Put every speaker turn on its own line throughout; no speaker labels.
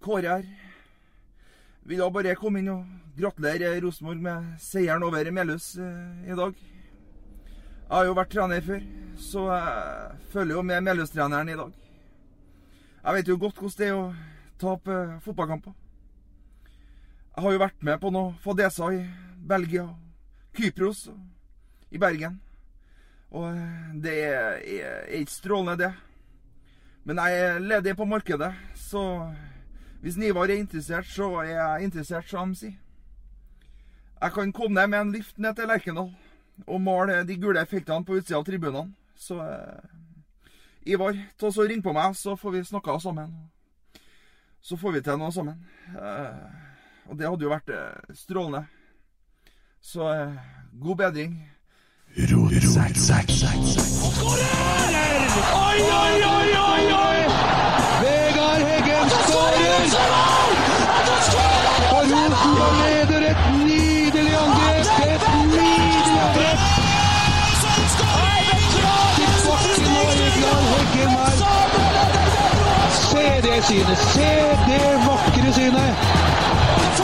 Kåre her. Eh, Vil da bare komme inn og gratulere Rosenborg med seieren over Melhus eh, i dag. Jeg har jo vært trener før, så jeg følger jo med Melhus-treneren i dag. Jeg vet jo godt hvordan det er å tape eh, fotballkamper. Jeg har jo vært med på noen fadeser i Belgia, Kypros og i Bergen. Og eh, det er, er, er ikke strålende, det. Men jeg er ledig på markedet, så hvis Nivar er interessert, så er jeg interessert, som de sier. Jeg kan komme ned med en lift ned til Lerkendal og male de gule feltene på utsida av tribunene. Så eh, Ivar, ta så ring på meg, så får vi snakka sammen. Så får vi til noe sammen. Eh, og det hadde jo vært eh, strålende. Så eh, god bedring.
Oi, oi, oi, oi, oi! Vegard Heggen skårer! Og Rosenborg leder et nydelig angrep! Et nydelig angrep! Til bakken og Vegard Heggen her. Se det synet! Se det vakre synet!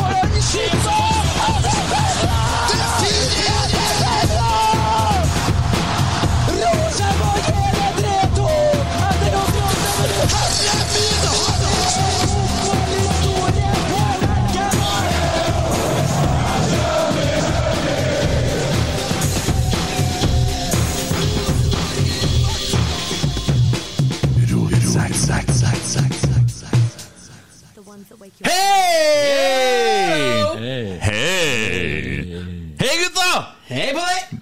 The ones that wake you
Hei! Hei! Hei, gutta!
Hei på deg!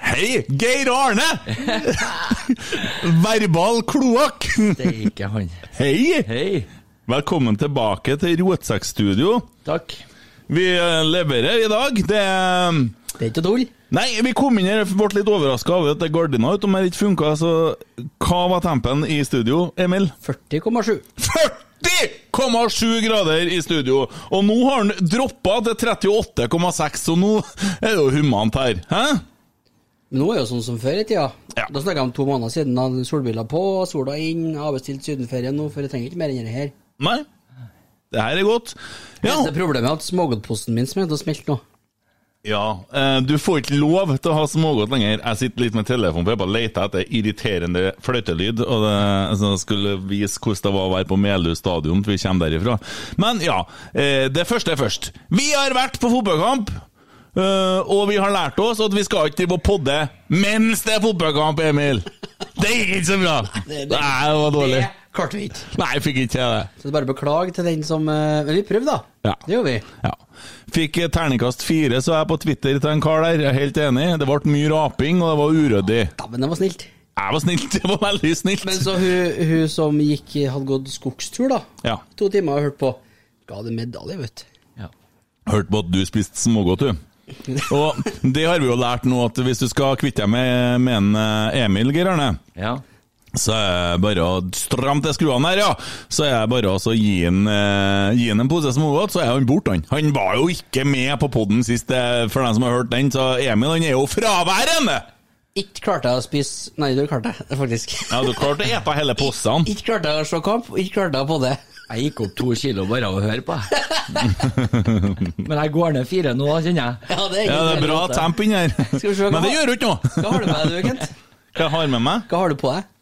Hei, Geir og Arne! Verbal kloakk!
Det er ikke han.
Hei!
Hei.
Velkommen tilbake til Rotsekkstudio.
Takk.
Vi eh, leverer i dag. Det er
Det er ikke tull.
Nei, vi kom inn her og ble litt overraska over at det gardina utom her ikke funka, så hva var tempen i studio, Emil?
40,7.
40,7 grader i studio, og nå har han droppa til 38,6, så nå er det jo humant her. Hæ?
Men nå er det jo sånn som før i tida.
Ja.
Da snakka jeg om to måneder siden. da hadde Solbriller på, sola inn, avbestilt sydenferie nå, for jeg trenger ikke mer enn det her.
Nei? Det her er godt. Ja,
Eneste problemet er at smågodtposten min som heter å smelte nå.
ja eh, du får ikke lov til å ha smågodt lenger. Jeg sitter litt med telefonen på, jeg bare leter etter irriterende fløytelyd, og det, altså, jeg skulle vise hvordan det var å være på Melhus stadion, for vi kommer derifra. Men ja, eh, det første er først. Vi har vært på fotballkamp! eh, og vi har lært oss at vi skal ikke drive og podde mens det er fotballkamp, Emil! Det gikk ikke så bra! Nei,
det-
det var dårlig.
Det klarte vi ikke.
Nei, jeg fikk ikke til det.
Så det er bare å beklage til den som eh, Men vi prøvde, da.
Ja.
Det gjorde vi.
Ja. Fikk eh, terningkast fire, så jeg på Twitter til en kar der. Jeg er helt enig. Det ble mye raping, og det var uryddig.
Dæven, det var snilt.
Jeg var snilt. Det var veldig
Men
snilt.
så hun, hun som gikk, hadde gått skogstur, da.
Ja.
To timer og hørt på. Ga det medalje, vet du.
Hørte på at du spiste smågodt, du. Og det har vi jo lært nå, at hvis du skal kvitte deg med, med en eh, Emil, Geir Arne,
Ja.
så er det bare å stramme til skruene her, ja! Så er det bare å så gi han eh, gi han en pose smågodt, så er han borte, han. Han var jo ikke med på poden sist, eh, for dem som har hørt den, så Emil han er jo fraværende!
Ikke klarte jeg å spise Nei, du klarte jeg, faktisk.
Ja, du klarte å ete hele posen.
Ikke klarte jeg å se kamp, ikke klarte jeg på det.
Jeg gikk opp to kilo bare av å høre på. Men jeg går ned fire nå, kjenner jeg.
Ja, det er,
Ja, det er bra temp inni her.
Skal vi se, hva-
Men det gjør jo ikke noe.
Hva har du med deg, du, Kent?
Hva jeg har med meg?
Hva har du på deg?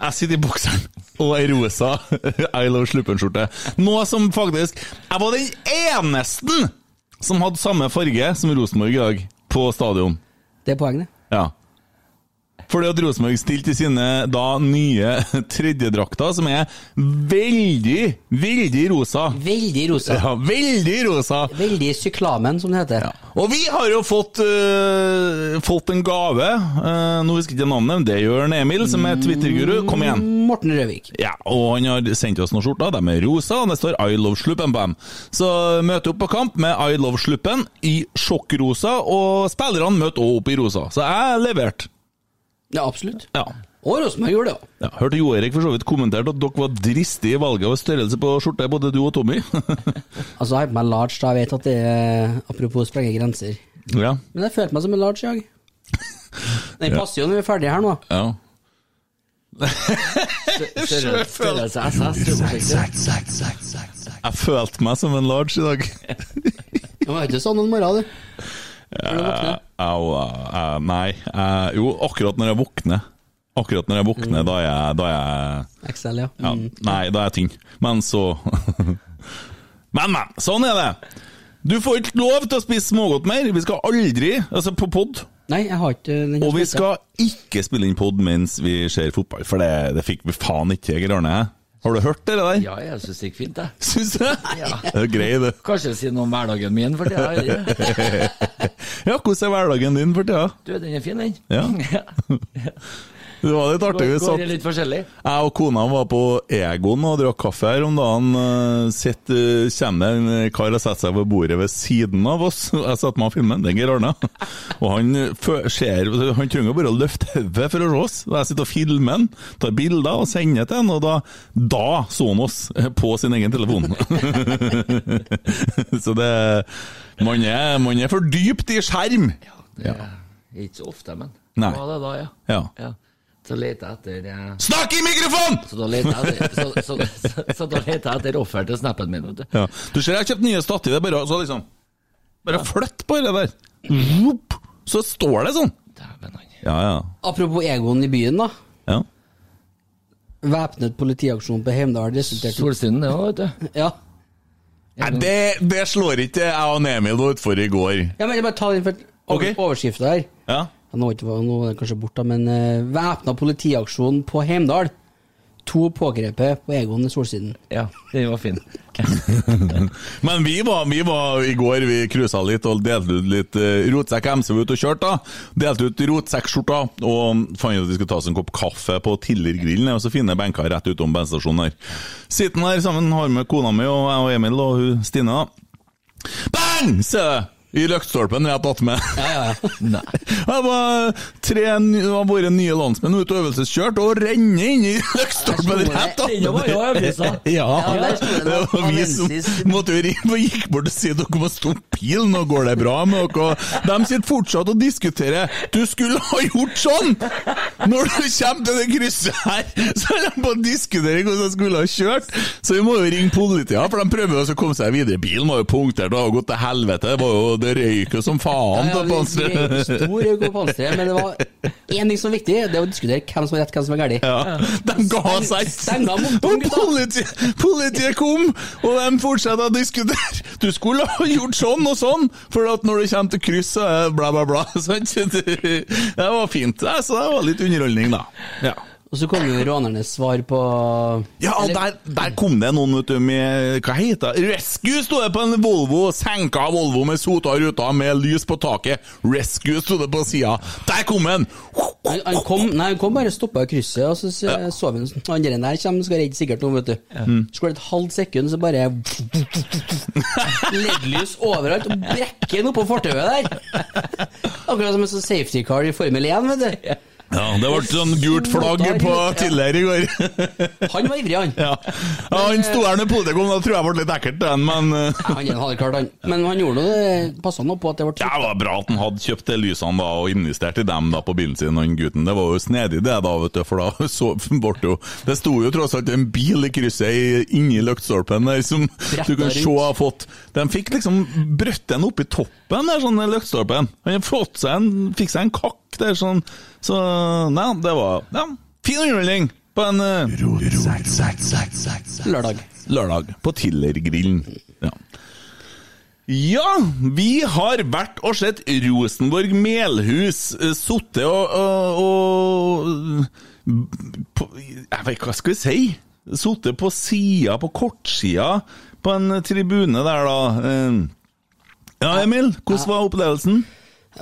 Jeg sitter i bokseren og ei rosa I Love Sluppen-skjorte. Noe som faktisk Jeg var den eneste som hadde samme farge som Rosenborg i dag, på stadion.
Det er poenget.
Ja. Fordi at Rosenborg stilte i sine da nye tredjedrakter, som er veldig, veldig rosa.
Veldig rosa.
Ja, veldig rosa.
Veldig syklamen, som det heter.
Og vi har jo fått, øh, fått en gave. Eh, nå husker jeg ikke navnet, men det gjør en Emil, som er Twitter-guru. Kom igjen.
Morten Røvik.
Ja, og han har sendt oss noen skjorter. De er rosa, og det står 'I love Sluppen' på dem. Så møter opp på kamp med 'I love Sluppen' i sjokkrosa, og spillerne møter også opp i rosa. Så jeg leverte.
Ja, absolutt.
Ja.
Og Rosenborg gjorde det òg.
ja. Hørte Jo Erik for så vidt kommentert at dere var dristige i valget av størrelse på skjorte, både du og Tommy.
Altså, jeg har på meg large, da. Jeg vet at det er Apropos sprenge grenser.
ja.
Men jeg følte meg som en large i dag. Den passer jo når vi er ferdige her nå.
ja.
Størrelse størrelse SS. tror jeg.
Jeg følte meg som en large i dag.
Det var ikke sånn en morgen, du. Når du våkner.
Au, au, au, nei. eh, jo, akkurat når jeg våkner. Akkurat når jeg våkner, da er jeg, da er jeg
XL, ja.
ja,
Mm.
Nei, da er jeg tynn. Men så Men, men! Sånn er det! Du får ikke lov til å spise smågodt mer! Vi skal aldri Altså, på pod.
Nei, jeg har ikke den
Og vi
slutta.
skal ikke spille inn pod mens vi ser fotball, for det, det fikk vi faen ikke til, Geir Arne. Har du hørt det der?
Ja, jeg syns det gikk fint, jeg.
Syns du? Ja. Det er grei, det.
Kanskje si noe om hverdagen min for tida.
Ja, hvordan er hverdagen din for tida?
Du, den er fin, den.
Ja. Det var litt artig.
Går,
Vi
går
satt
i litt forskjellig.
Jeg og kona var på Egon og drakk kaffe her om dagen. eh, Sett, eh, kommer det en kar og setter seg på bordet ved siden av oss. Jeg satte meg og filmen, det er Geir Arne. Og han, eh, fø- ser, han trenger bare å løfte hodet for å se oss. Og Jeg sitter og filmer han, tar bilder og sender til han, og da, da så han oss eh, på sin egen telefon. så det man er, man er for dypt i skjerm.
Det er ikke så ofte, men
Nei.
Ja, det er da, ja.
Ja.
ja. Så leter jeg etter eh,
Snakk i mikrofonen!
Så da leter jeg etter, så, så, så, så da leter jeg etter offer til snappen min, vet du.
Ja. Du ser jeg har kjøpt nye stativer, bare, så liksom Bare flytt på det der. Vup, så står det sånn.
Dæven, han.
Ja, ja.
Apropos egoen i byen, da.
ja.
Væpnet politiaksjon på Heimdal resulterte
Solstunden, det òg, vet du.
Ja.
Nei, det, det slår ikke jeg og Emil var utfor i går.
ja, men jeg bare ta den for over,
Ok.
overskrifta her.
Ja.
Ja, nå, er ikke, nå er den kanskje borte, da, men uh, væpna politiaksjon på Heimdal. To pågrepet på Egon i Solsiden.
Ja, den var fin.
Men vi var, vi var i går, vi cruisa litt og delte ut litt eh, rotsekk MC var ute og kjørte. da Delte ut rotsekkskjorta og fant ut at vi skulle ta oss en kopp kaffe på Tillergrillen. Og så finne benker rett utom bensinstasjonen her. Sitter her sammen har med kona mi og jeg og Emil og hun Stine. da Bang! Se det! I løktstolpen rett attmed.
Nei.
Jeg var tre ny- av våre nye landsmenn ute og øvelseskjørt og renner inn i løkkstolpen rett opp.
Den var jo avisa.
Ja,
Ja, der sto det
det var vi som
Avensis.
måtte jo ringe og gikk bort og si at dere må stoppe bilen, og går det bra med dere? De sitter fortsatt og diskuterer. Du skulle ha gjort sånn! Når du kommer til det krysset her, så er de på å diskutere hvordan de skulle ha kjørt. Så vi må jo ringe politiet, for de prøver jo også å komme seg videre. Bilen var jo punktert og har gått til helvete. Det, var jo, det røyk jo som faen.
Ja, ja,
til
vi-
Panstre.
vi er jo stor i god panstre, men det var én ting som var viktig, det er å diskutere hvem som var rett, hvem som var galt.
Ja. De ga seg.
Steng av motoren,
Og
gutta.
politiet, politiet kom, og de fortsatte å diskutere. Du skulle ha gjort sånn og sånn, for at når du kommer til kryss, så er det bla, bla, bla. sant? Det var fint. Ja, Så det var litt underholdning, da. Ja.
Og så kom jo rånernes svar på
Ja, og der, der kom det noen vet du, med Hva heter det? Rescue sto det på en Volvo. Senka Volvo med sota ruta med lys på taket. Rescue sto det på sida. Der kom den!
Han, han, kom, nei, han kom bare og stoppa i krysset, og så s- så vi han han der der kommer, skal redde sikkert noe, vet du. Så går det et halvt sekund, så bare LED-lys overalt, og brekker han oppå fortauet der. Akkurat som en sånn safety car i Formel 1, vet du.
Ja, det ble sånn gult flagg på tidligere i går.
Han var ivrig, han.
Ja, ja han sto her når politiet kom, da tror jeg det ble litt ekkelt, den, men eh,
Han er en hardkart, han. Men han gjorde noe, passa nå på at det ble
det var bra at han hadde kjøpt de lysene da, og investert i dem da på bilen sin, han gutten. Det var jo snedig det, da, vet du, for da så bort jo Det sto jo tross alt en bil i krysset i- inni løktstolpen der som du kan se har fått De fikk liksom brøtt den opp i toppen der, sånn den løktstolpen. Han har fått seg en, fikk seg en kakk der, sånn. Så nei, det var ja, fin underholdning på en eh,
lørdag.
lørdag på Tillergrillen. Ja. ja, vi har vært og sett Rosenborg Melhus eh, sitte og, og, og på, Jeg vet ikke hva skal vi si? Sitte på sida, på kortsida, på en tribune der, da. Eh, Ja, Emil, hvordan var opplevelsen?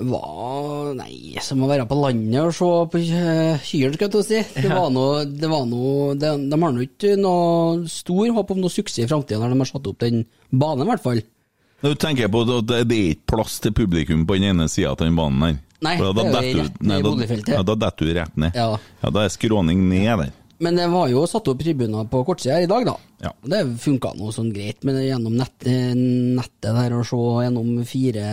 var Nei, som å være på landet og se på eh, kyrne, skal jeg til å si. Det var noe, det var noe de, de har nå ikke noe stor håp om noe suksess i framtida når de har satt opp den banen, i hvert fall.
Nå tenker jeg på at det det er ikke plass til publikum på den ene sida av den banen her.
Nei,
For da
det er jo
detter du-
rett ned
nei,
i
da-
boligfeltet.
Ja, da detter du rett ned.
Ja.
ja, da er skråning ned der.
Men det var jo satt opp tribuner på kortsida her i dag, da.
Ja.
Og Det funka nå sånn greit, men gjennom nett, eh, nettet der og se gjennom fire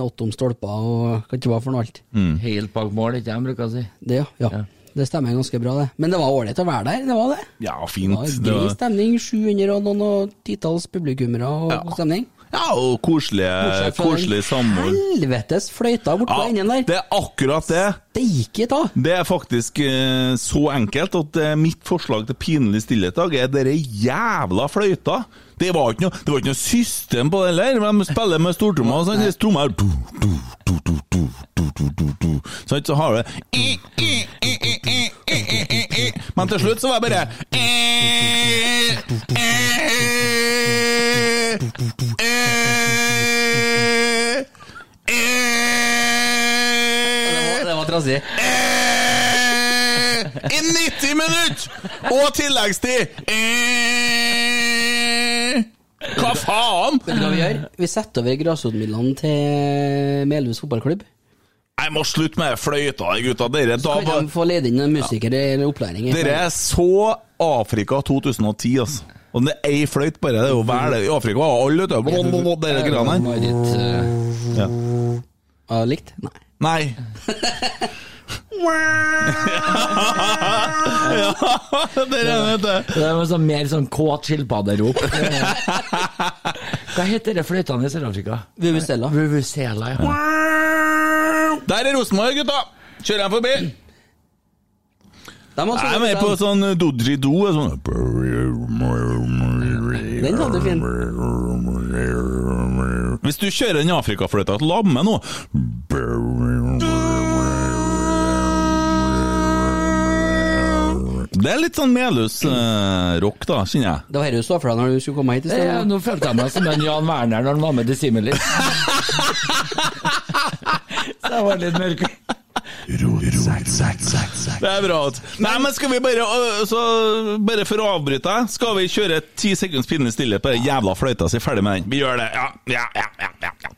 åttom stolper og hva det var for noe alt.
Helt bak mål, ikke jeg, bruker jeg å si.
Det, ja. ja.
Mm. Ja.
Det stemmer ganske bra, det. Men det var ålreit å være der, det var det.
Ja,
Det
fint.
var
Det
Grei
var-
stemning. 700 og noen og titalls publikummere og god stemning.
Ja, og koselige,
Bortsett fra
koselige
den
samhold.
Helvetes fløyta bortpå
Ja,
ja, enden der.
det er akkurat det.
Det gikk ikke, da.
Det er faktisk eh, så enkelt at eh, mitt forslag til pinlig stillhet i dag er dere jævla fløyta. Det var ikke noe, det var ikke noe system på det heller. De spiller med stortromma, og sånn, det er tromma her du, du, du, du, du, du, du, du, du. Sånn, Så har det Men til slutt så var det bare
Det var trasig.
Eh, I 90 minutter Og tilleggstid Eh, Hva faen?
Vet du hva vi gjør?
Eh.
Vi setter over grasrotmidlene til Melhus fotballklubb.
Jeg må slutte med fløyta gutta Dere, da,
Kan de få lede inn en musiker eller opplæring? i-
dere er så Afrika 2010 altså. Og det er ei fløyt bare Det er jo vel I Afrika var alle vet du, blå, blå, blå, Dere greiene her
Marit, eh,
Ja, likt? Nei.
Nei Ja, dere vet det
det var sånn mer sånn kåt skilpadderop. Hva heter det fløytene i Sør-Afrika?
Vuvuzela.
Vuvuzela, ja.
Der er Rosenborg gutta Kjører jeg forbi
De har
Jeg er med på sånn dodgy-do. Sånn. Den
hadde fin.
Hvis du kjører den afrikafløyta til lamme nå Det er litt sånn Melhus-rock, da, kjenner jeg.
Det var her du så for deg når du skulle komme hit i
Det,
sted.
er- nå følte jeg meg som en Jan Werner når han var med i Simili. Så jeg var litt mørk.
Det er bra. vet du. Nei, men skal vi bare øh, så, Bare for å avbryte deg, skal vi kjøre ti sekunds pinlig stillhet på den jævla fløyta si? Ferdig med den. Vi gjør det. Ja, ja, ja, ja, ja, ja.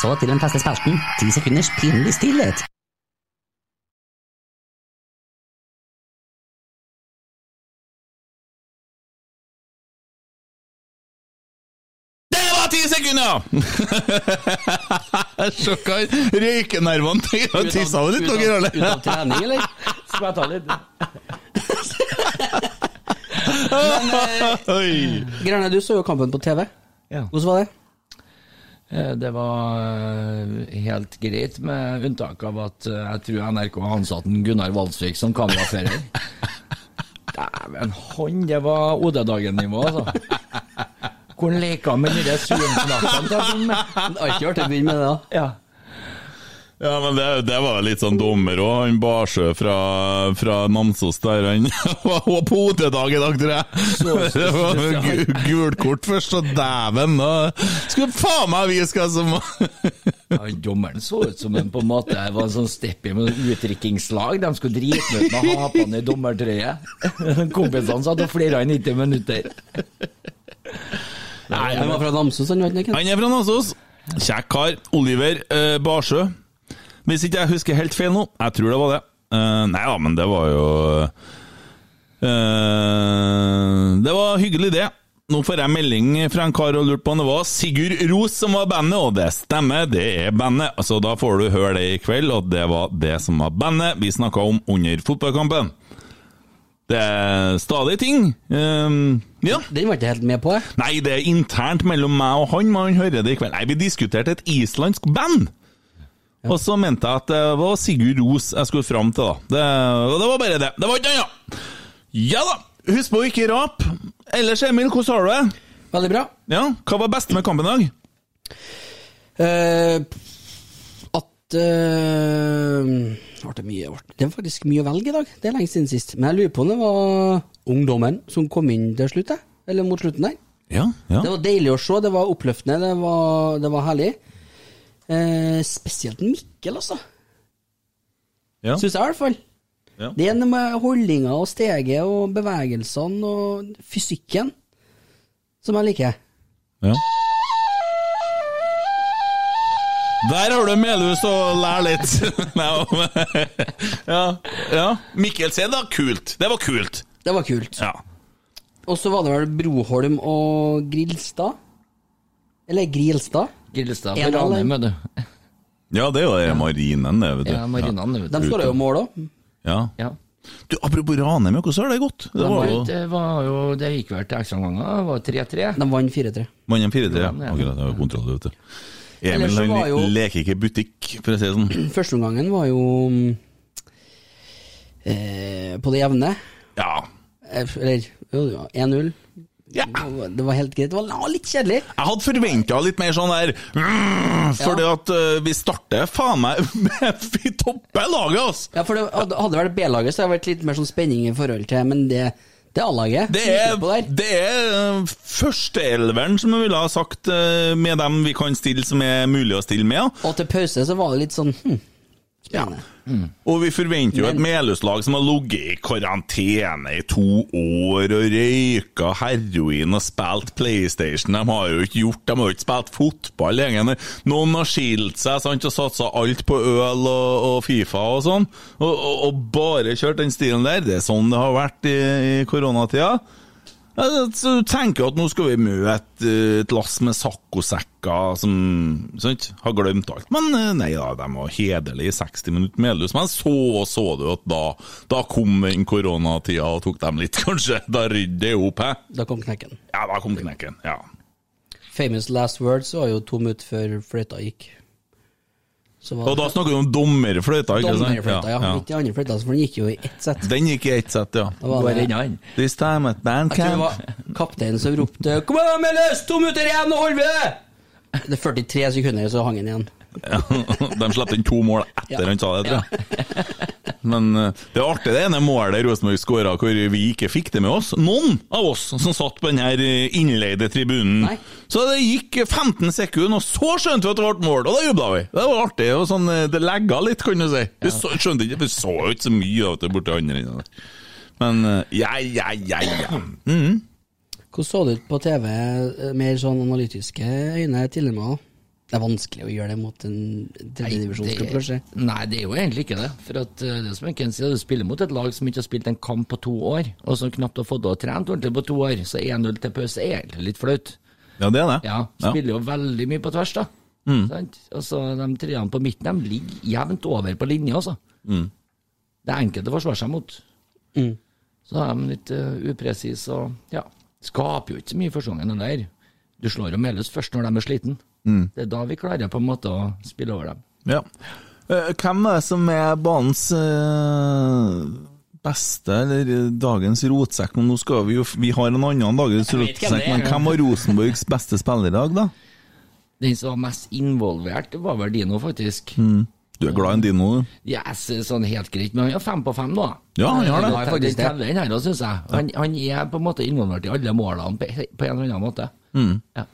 Så til den faste spalten, ti sekunders pinlig stillhet.
Det var ti sekunder, ja! Sjokka røykenervene til å tisse av litt. dere alle.
Ut av trening, eller?
Skal jeg ta litt?
Oi.
Grane, du så jo kampen på TV.
Ja.
Hvordan var det?
Eh, Det var eh, helt greit, med unntak av at eh, jeg tror NRK har ansatt en Gunnar Valsvik som kamerafører. Dæven, han Det var OD-dagen-nivå, altså. Hvor han leka med de der surmknappene. til han med.
Det har ikke vært å begynne med det, da.
Ja.
Ja, men det, det var litt sånn dommer òg. Han Barsø fra, fra Namsos der, han var også på OT-dag i dag, tror jeg. Det var gu- gult kort først, og dæven, da skulle faen meg vi skal som
Han dommeren så ut som en på en måte var en sånn steppy med noen utdrikkingslag. De skulle drite meg ut med hapene i dommertrøye. Kompisene satt og flira i 90 minutter.
Nei,
Han var fra Namsos, han var ikke
Han er fra Namsos. Kjekk kar. Oliver eh, Barsø. Hvis ikke jeg husker helt feil nå, jeg tror det var det. Eh, nei da, men det var jo eh, Det var hyggelig, det. Nå får jeg melding fra en kar og lurt på om det var Sigurd Ros som var bandet, og det stemmer, det er bandet. Så da får du høre det i kveld, og det var det som var bandet vi snakka om under fotballkampen. Det er stadig ting. Eh, ja.
Den var ikke helt med på, jeg.
Nei, det er internt mellom meg og han, men han hører det i kveld. Nei, vi diskuterte et islandsk band! Og så mente jeg at det var Sigurd Ros jeg skulle fram til, da. Det, og det var bare det. Det var ikke annet! Ja da! Husk på å ikke rape! Ellers, Emil, hvordan har du det?
Veldig bra.
Ja, Hva var best med kampen i dag?
Eh, at eh, ble det, mye, ble det var faktisk mye å velge i dag. Det er lenge siden sist. Men jeg lurer på om det var ungdommen som kom inn til slutt, jeg. eller mot slutten der.
Ja, ja.
Det var deilig å se, det var oppløftende, det var, det var herlig. Eh, spesielt Mikkel, altså.
Ja.
Syns jeg, i hvert fall.
Ja.
Det er noe med holdninga og steget og bevegelsene og fysikken som jeg liker.
Ja. Der har du Melhus og lær litt. Nei, men- ja, ja. Mikkelsen, da. Kult. Det var kult.
Det var kult.
Ja.
Og så var det vel Broholm og Grilstad? Eller Grilstad?
Gillestad
En
var
av dem.
Ranheim, vet du.
Ja, det er jo det marinen, det, vet du.
Ja, Marinaen, vet
De
du.
skåra jo mål òg.
Ja.
Ja.
Du, Apropos Ranheim, hvordan har det gått? Det
Det
var jo
det, var eh, jo, det gikk vel til ekstraomganger. Det var 3-3.
De vant 4-3.
mannen 4-3. ja.
Ja, ja.
Akkurat, det var kontroll, vet du. Emil
Ellers så var
han
jo-
leker ikke butikk, for å si det sånn.
Førsteomgangen var jo mm, eh, på det jevne.
Ja.
Eh, Eller jo, ja, 1-0.
ja.
Det var- Det var helt greit. Det var la- litt kjedelig.
Jeg hadde forventa litt mer sånn der mm, Fordi at eh, vi starter faen meg med Vi topper laget, altså!
Ja, for det hadde hadde vært B-laget, så det hadde vært litt mer sånn spenning i forhold til Men det, det er A-laget.
Det
som
er,
sitter på der.
det er eh, førsteelveren, som jeg ville ha sagt, eh, med dem vi kan stille som er mulig å stille med. ja.
Og til pause så var det litt sånn hm, spennende.
Og vi forventer jo et Melhus-lag som har ligget i karantene i to år og røyka heroin og spilt PlayStation. De har jo ikke gjort De har jo ikke spilt fotball lenger. Noen har skilt seg sant, og satsa alt på øl og, og Fifa og sånn, og, og, og bare kjørt den stilen der. Det er sånn det har vært i, i koronatida. Ja, Så du tenker at nå skal vi møte eh, et lass med saccosekker som sant, har glemt alt. Men eh, nei da, de var hederlige i 60 minutter medløs. Men så så du at da, da kom den koronatida og tok dem litt, kanskje. Da rydde det opp, hæ?
Da kom knekken.
Ja, da kom knekken. Ja.
Famous last words var jo to minutter før fløyta gikk. Så var
Og da snakker du om dommerfløyta, ikke sant?
dommerfløyta, ja. Ikke de andre fløyta, for den gikk jo i ett sett.
Den gikk i ett sett, ja.
Da var
Går
det-
inn han.
This time at band
Jeg tror det
camp.
var kapteinen som ropte 'Kom igjen, Melløs! To minutter igjen, nå holder vi det!' Det er 43 sekunder, så hang han igjen.
Ja, De slapp inn to mål etter
Ja.
han sa det, tror jeg. Men eh, det er artig, det ene målet Rosenborg skåra hvor vi ikke fikk det med oss. Noen av oss som satt på den her eh, innleide tribunen.
Nei.
Så det gikk 15 sekunder, og så skjønte vi at det ble mål, og da jubla vi. Det var artig. og sånn, eh, Det legga litt, kan du si. Vi så, skjønte ikke, vi så jo ikke så mye av det borti andre enden. der. Men eh, ja, ja, ja, ja. Mhm.
Hvordan så det ut på TV, eh, mer sånn analytiske øyne tilnærma? Det er vanskelig å gjøre det mot en tredjedivisjonsklubb, kanskje.
nei, det er jo egentlig ikke det. For at, eh, det er som Ken sier, du spiller mot et lag som ikke har spilt en kamp på to år, og som knapt har fått å trent ordentlig på to år, så 1-0 til pause er egentlig litt flaut.
Ja, det er det.
Ja, spiller jo veldig mye på tvers, da. Sant? Altså, de treene på midten de ligger jevnt over på linja, altså. Det er enkelt å forsvare seg mot. Så er de litt eh, upresise og ja, skaper jo ikke så mye i første gangen heller. Du slår jo Melhus først når de er sliten. Det er da vi klarer på en måte å spille over dem.
Ja. Eh, Hvem er det som er banens eh, beste, eller eh, dagens rotsekk? Men nå skal vi jo Vi har en annen dagens
vet hvem
rotsekk,
det er.
men hvem var Rosenborgs beste spiller i dag, da?
Den som var mest involvert, det var vel Dino, faktisk.
Mm. Du er glad i en dino, du?
Yes, sånn helt greit, men han har fem på fem nå.
Ja, han har det.
Den
faktisk det.
teller den her, da, synes jeg. Han, han er på en måte involvert i alle målene på, på en eller annen måte. Ja.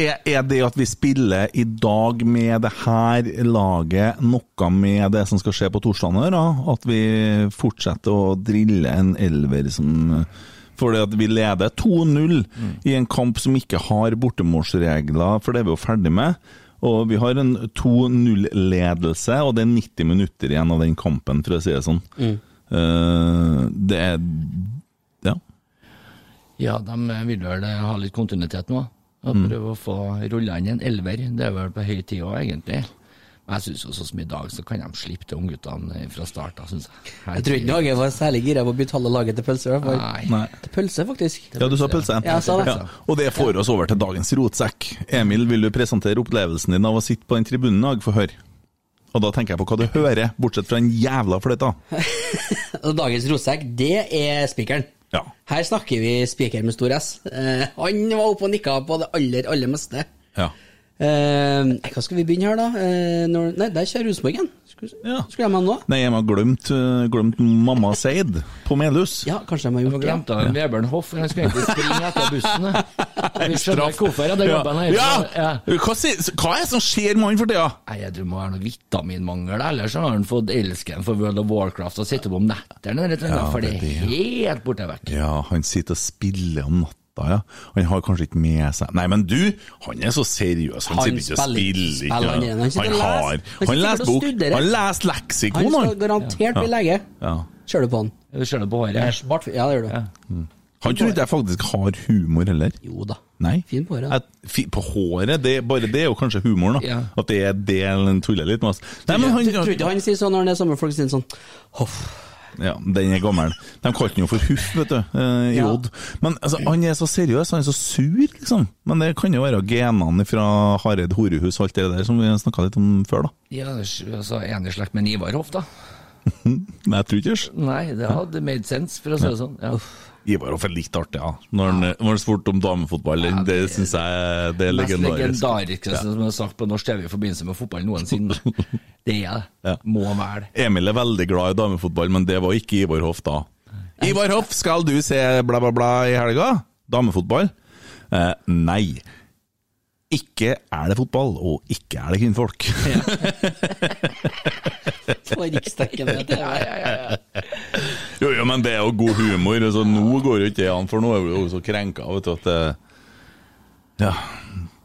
Er, er det at vi spiller i dag med det her laget noe med det som skal skje på torsdag? nå, Da? At vi fortsetter å drille en elver som Fordi at vi leder 2-0 i en kamp som ikke har bortemålsregler, for det er vi jo ferdig med. Og vi har en 2-0-ledelse, og det er 90 minutter igjen av den kampen, for å si det sånn. Eh, det er Ja.
Ja, de vil vel eh, ha litt kontinuitet nå. Og prøve å få rulla inn en elver. Det er vel på høy tid òg, egentlig. Men jeg syns også som i dag, så kan de slippe til ungguttene eh, fra starten, syns jeg.
Jeg tror ikke Norge var særlig gira på å bytte halve laget til pølse. i hvert fall.
Nei.
Nei.
Til pølse, faktisk.
Ja, du sa pølse.
Ja, jeg sa det.
Og det får oss over til dagens rotsekk. Emil, vil du presentere opplevelsen din av å sitte på den tribunen i dag? Få høre. Og da tenker jeg på hva du hører, bortsett fra den jævla fløyta.
Og Dagens rotsekk, det er spikeren.
Ja.
Her snakker vi spiker med stor S. Eh, han var oppe og nikka på det aller, aller meste.
Ja.
Eh, hva skal vi begynne her, da? Eh, når, nei, der kjører Rosenborg igjen. Skulle,
Ja.
skulle de ha nå?
Nei, jeg har glemt, øh, glemt mamma Seid på Melhus.
Ja, kanskje de har
Vi
gjort det.
glemte han Vebjørn Hoff, han skulle egentlig springe etter bussen. da. Vi skjønner hvorfor. Ja, det
Ja.
jobben her.
Ja. Hva, si- hva er det som skjer med han for tida?
Nei, jeg tror det må være noe vitaminmangel, ellers har han fått elsken for World of Warcraft og sitter på om nettene, rett og slett,
Ja,
for det
det
er
er
helt borte vekk.
Ja, han sitter og spiller om natta, ja. Han har kanskje ikke med seg Nei, men du, han er så seriøs. Han, sitter
Han
ikke og
spiller ikke.
spiller. ikke.
Spiller han igjen. Han sitter
han
og leser.
har
Han
Han
sitter
leser
og
bok.
studerer.
Han leser leksikon,
Han skal
han.
garantert bli lege.
Ja.
Ser du på han?
Du ser det på håret.
Det er smart. Ja, det gjør du.
Han tror ikke jeg faktisk har humor heller.
Jo da.
Nei.
Fin på håret.
At, fi, på håret? Det, bare det er jo kanskje humoren, da.
Ja.
At det er det han tuller litt med oss. Nei, men
Tror
han,
ikke han sier sånn når han er sammen med folk sier sånn Hoff,
Ja, den er gammel. De kalte den jo for Huff, vet du, eh, i
Ja.
Odd. Men altså, han er så seriøs, han er så sur, liksom. Men det kan jo være genene fra Hareid Horehus og alt det der som vi snakka litt om før, da.
Ja, altså, en i slekt med Ivar Hoff, da.
Men jeg tror ikke det.
Nei, det hadde made sense, for å si det sånn. Ja.
Ivar Hoff er litt artig, ja. Når han, når han spurte om damefotball, den- det syns jeg det er
Mest
legendarisk.
legendariske som er sagt på norsk TV i forbindelse med fotball noensinne. Det er
Ja.
det. Må være det.
Emil er veldig glad i damefotball, men det var ikke Ivar Hoff da. Ivar Hoff, skal du se bla, bla, bla i helga? Damefotball? Eh, nei. Ikke er det fotball, og ikke er det kvinnfolk.
På riksdekkende TV.
jo, jo, men det er jo god humor, så nå går jo ikke det an, for nå er vi jo så krenka, vet du, at eh, Ja.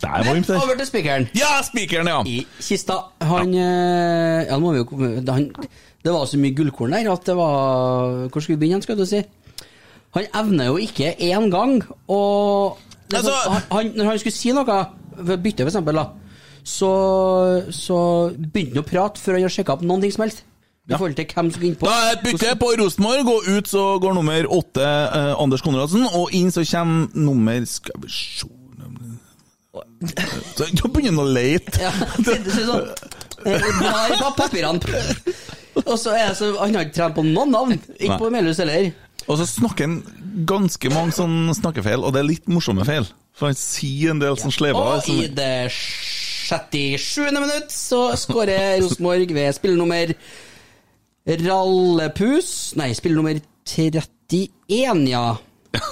Det er varmt der.
Over til spikeren.
Ja, spikeren, ja!
I kista. Han eh, Ja, nå må vi jo komme det- han, Det var så mye gullkorn der at det var Hvor skulle vi begynne, skal du si? Han evner jo ikke én gang å det er
Altså-
sånn, han, han, Når han skulle si noe, ved bytte for eksempel, da, så, så begynte han å prate før han har sjekka opp noen ting som helst. I forhold til hvem som gikk på.
Da er et bytte på Rosenborg, og ut så går nummer åtte eh, Anders Konradsen, og inn så kommer nummer Skal vi se Så Da begynner han å leite.
Ja, det er sånn eh, Blar på papirene. Og så er jeg så, Han har ikke trent på noen navn. Ikke på Melhus heller.
Og så snakker han ganske mange sånn snakkefeil, og det er litt morsomme feil. For han sier en del sånn slever.
Og
som-
i det 67. minutt så skårer Rosenborg ved spillenummer Rallepus Nei, spillenummer 31, ja.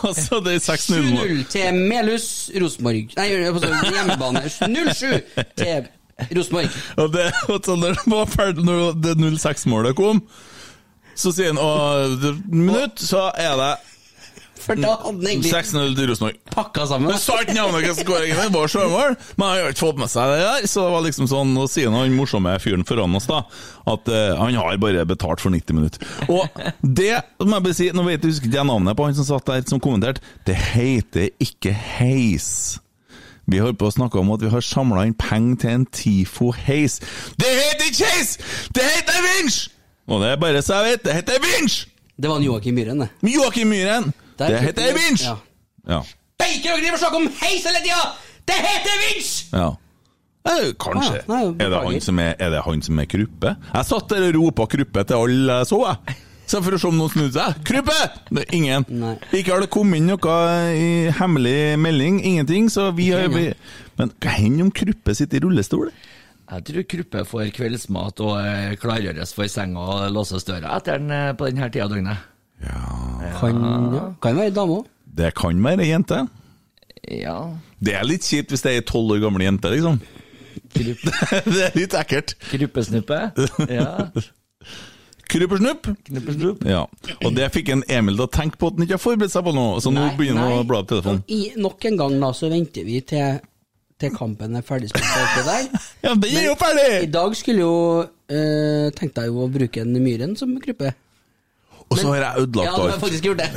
Altså, det er 6-0.
7-0 til Melhus Rosenborg. Nei, jeg holdt på å si hjemmebane. 0-7 til Rosenborg.
Og det, og så når det var ferdig, når det 06-målet kom, så sier han Og minutt, så er det
For da hadde han egentlig
6-0 til Rosenborg.
pakka sammen.
Men sa ikke navnet hva som går igjen, det var sjølmål. Men han har jo ikke fått med seg det der. Så det var liksom sånn, nå sier han morsomme fyren foran oss, da, at eh, han har bare betalt for 90 minutter. Og det må jeg bare si, nå vet jeg husker ikke jeg navnet på han som satt der som kommenterte, det heter ikke heis. Vi holder på å snakke om at vi har samla inn penger til en TIFO-heis. Det heter ikke heis! Det heter vinsj! Og det er bare så jeg vet, det heter vinsj!
Det var en Joakim Myhren, det.
Joakim Myhren,
Der-
det heter vinsj!
Ja.
Ja.
Beiker og driver og snakker om heis hele tida! Det heter vinsj!
Ja. Eh, Kanskje.
Ah, nei,
er, det
beklager.
han som er, er det han som er Kruppe? Jeg satt der og ropa Kruppe til alle jeg så, jeg. Så for å se om noen snudde seg. Kruppe! Det er ingen.
Nei.
Ikke har det kommet inn noe i hemmelig melding, ingenting, så vi har vi, Men hva hender om Kruppe sitter i rullestol?
Jeg tror Kruppe får kveldsmat og eh, klargjøres for senga og låses døra etter den eh, på denne tida av døgnet.
Kan, ja. kan være dame òg.
Det kan være ei jente.
Ja.
Det er litt kjipt hvis det er ei tolv år gammel jente, liksom.
Krupp,
det er litt ekkelt.
kruppesnuppe. Ja.
Kruppesnupp.
Knuppesnupp.
Ja. Og det fikk en Emil til å tenke på at han ikke har forberedt seg på noe, så nå
Nei,
begynner han
nei.
å bla opp telefonen.
I, nok en gang da, så venter vi til, til kampen er ferdig spilt. og alt det der.
Ja, den er jo ferdig!
I dag skulle jo eh, tenkte jeg jo å bruke en Myhren som gruppe.
Og så har jeg
Ja,
ødelagt
du har
alt.
faktisk gjort det.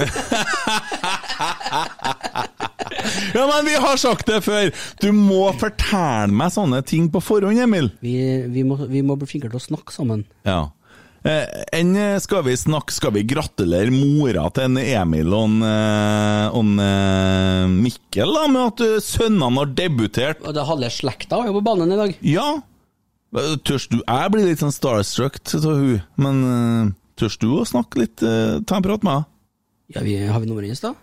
Ja, men vi har sagt det før! Du må fortelle meg sånne ting på forhånd, Emil.
Vi, vi, må, vi må bli flinkere til å snakke sammen.
Ja. Eh, Enn eh, skal vi snakke Skal vi gratulere mora til en Emil og en, eh, og en eh, Mikkel da, med at eh, sønnene har debutert?
Og det er halve slekta er jo på banen i dag.
Ja! Eh, Tørs du Jeg blir litt sånn starstruck av hun, men eh, tørs du å snakke litt? eh, Ta en prat med henne?
Ja, vi, Har vi nummeret hennes, da?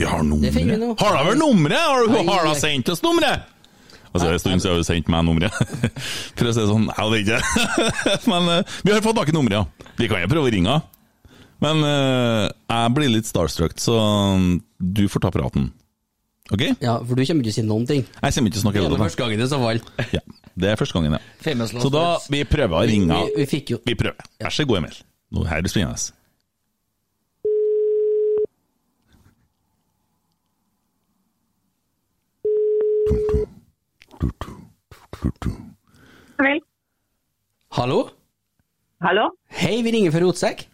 Jeg har
Det finner vi nå.
nummeret. Har hun vel nummeret? Har hun
Nei,
har hun
jeg-
sendt oss nummeret? Altså, En stund siden har hun sendt meg nummeret. For å si det sånn, jeg vet ikke. Men eh, vi har fått tak i nummeret, ja. Vi kan jo prøve å ringe henne. Men eh, jeg blir litt starstruck, så mm, du får ta praten. OK? Jeg
Ja, For du kommer ikke til å si noen ting.
kommer ikke til å snakke
Det
hele
er
tiden.
første gangen i så fall.
Ja, det er første gangen, ja.
Famous last
Så da,
words.
vi prøver å ringe
Vi, vi
henne.
fikk jo
Vi prøver. Vær så god, Emil. Nå her er det spennende.
Vel.
Hallo?
Hallo?
Hei, vi ringer fra Rotsekk.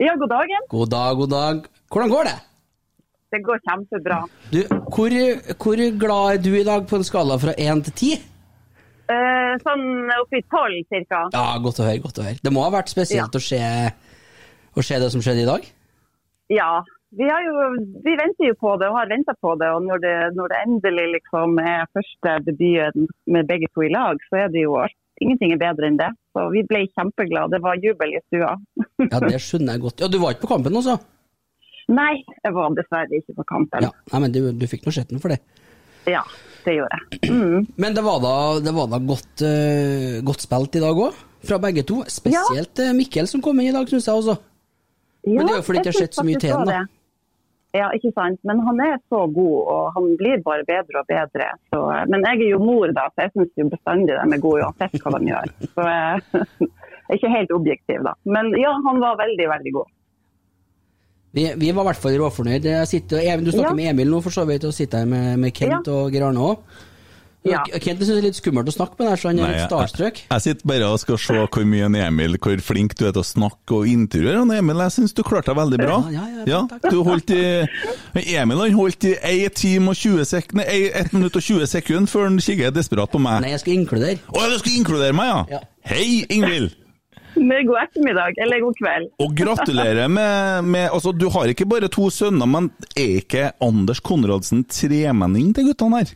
Ja, god dagen.
God dag, god dag. Hvordan går det?
Det går kjempebra.
Du, hvor, hvor glad er du i dag på en skala fra én til ti?
Eh, sånn oppi tolv cirka.
Ja, godt å høre, godt å høre. Det må ha vært spesielt å se å se det som skjedde i dag?
Ja. Vi, har jo, vi venter jo på det og har venta på det. Og når det, når det endelig liksom er første debuten med begge to i lag, så er det jo alt. Ingenting er bedre enn det. Så vi ble kjempeglade. Det var jubel i stua.
Ja, det skjønner jeg godt. Ja, du var ikke på kampen, altså?
Nei, jeg var dessverre ikke på kampen.
Ja, nei, men du, du fikk nå skjetten for det.
Ja, det gjorde jeg. Mm.
Men det var da, det var da godt, eh, godt spilt i dag òg, fra begge to. Spesielt eh, Mikkel som kom inn i dag, syns jeg også. Men det er jo fordi
jeg
det har skjedd
synes
så mye
faktisk
til den,
også
da.
det. Ja, ikke sant. Men han er så god, og han blir bare bedre og bedre. Så, men jeg er jo mor, da, så jeg syns jo bestandig de er gode uansett hva de gjør. Så jeg jeg er ikke helt objektiv, da. Men ja, han var veldig, veldig god.
Vi, vi var i hvert fall råfornøyd. Jeg sitter, Even, du snakker
Ja.
med Emil nå, for så vidt, og sitter her med, med Kent
Ja.
og Geir Arne òg.
Ja.
Kent syns det er litt skummelt å snakke med, der, så han
Nei,
er litt
jeg-
starstruck.
Jeg sitter bare og skal se hvor mye en Emil hvor flink du er til å snakke og intervjue. Han Emil, jeg syns du klarte deg veldig bra.
Ja, ja, ja, takk,
du holdt i Emil han holdt i 1 time og 20 sek nei, 1 minutt og 20 sekunder før han kikker desperat på meg.
Nei, jeg skal inkludere.
Å ja, du skulle inkludere meg, ja?
Ja.
Hei, Ingvild!
Men god ettermiddag, eller god kveld.
Og gratulerer med, med Altså, du har ikke bare to sønner, men er ikke Anders Konradsen tremenning til guttene her?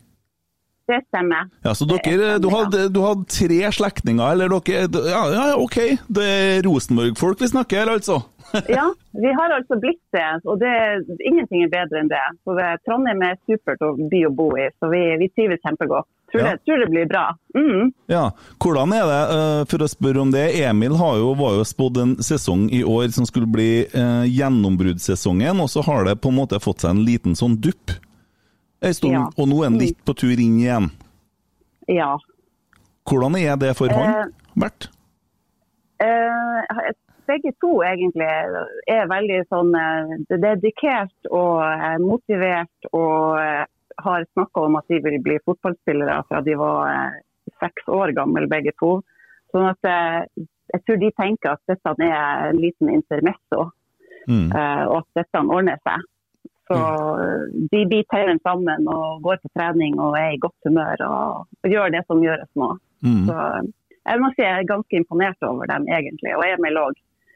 Det stemmer.
Ja, så dere, du hadde, du hadde tre slektninger, eller dere Ja, ja ok, det er Rosenborg-folk vi snakker her, altså.
Ja, vi har altså blitt det, og det, ingenting er bedre enn det. Så det Trondheim er supert å by å bo i, så vi, vi trives kjempegodt. Tror,
Ja.
det, tror det blir bra. Mm.
Ja, Hvordan er det, eh, for å spørre om det, Emil har jo, var jo spådd en sesong i år som skulle bli eh, gjennombruddssesongen, og så har det på en måte fått seg en liten sånn dupp. En stund,
Ja. Mm.
Og nå er han litt på tur inn igjen.
Ja.
Hvordan er det for
Eh,
han, Bert?
Eh, begge to egentlig er veldig sånn eh, dedikert og eh, motivert og eh, har snakka om at de vil bli fotballspillere fra de var eh, seks år gamle begge to. Sånn at eh, jeg tror de tenker at dette er en liten intermesso,
Mm.
eh, og at dette ordner seg. Så
Mm.
de biter tauene sammen og går på trening og er i godt humør og gjør det som gjøres nå.
Mm.
Så jeg må si jeg er ganske imponert over dem, egentlig. Og Emil òg.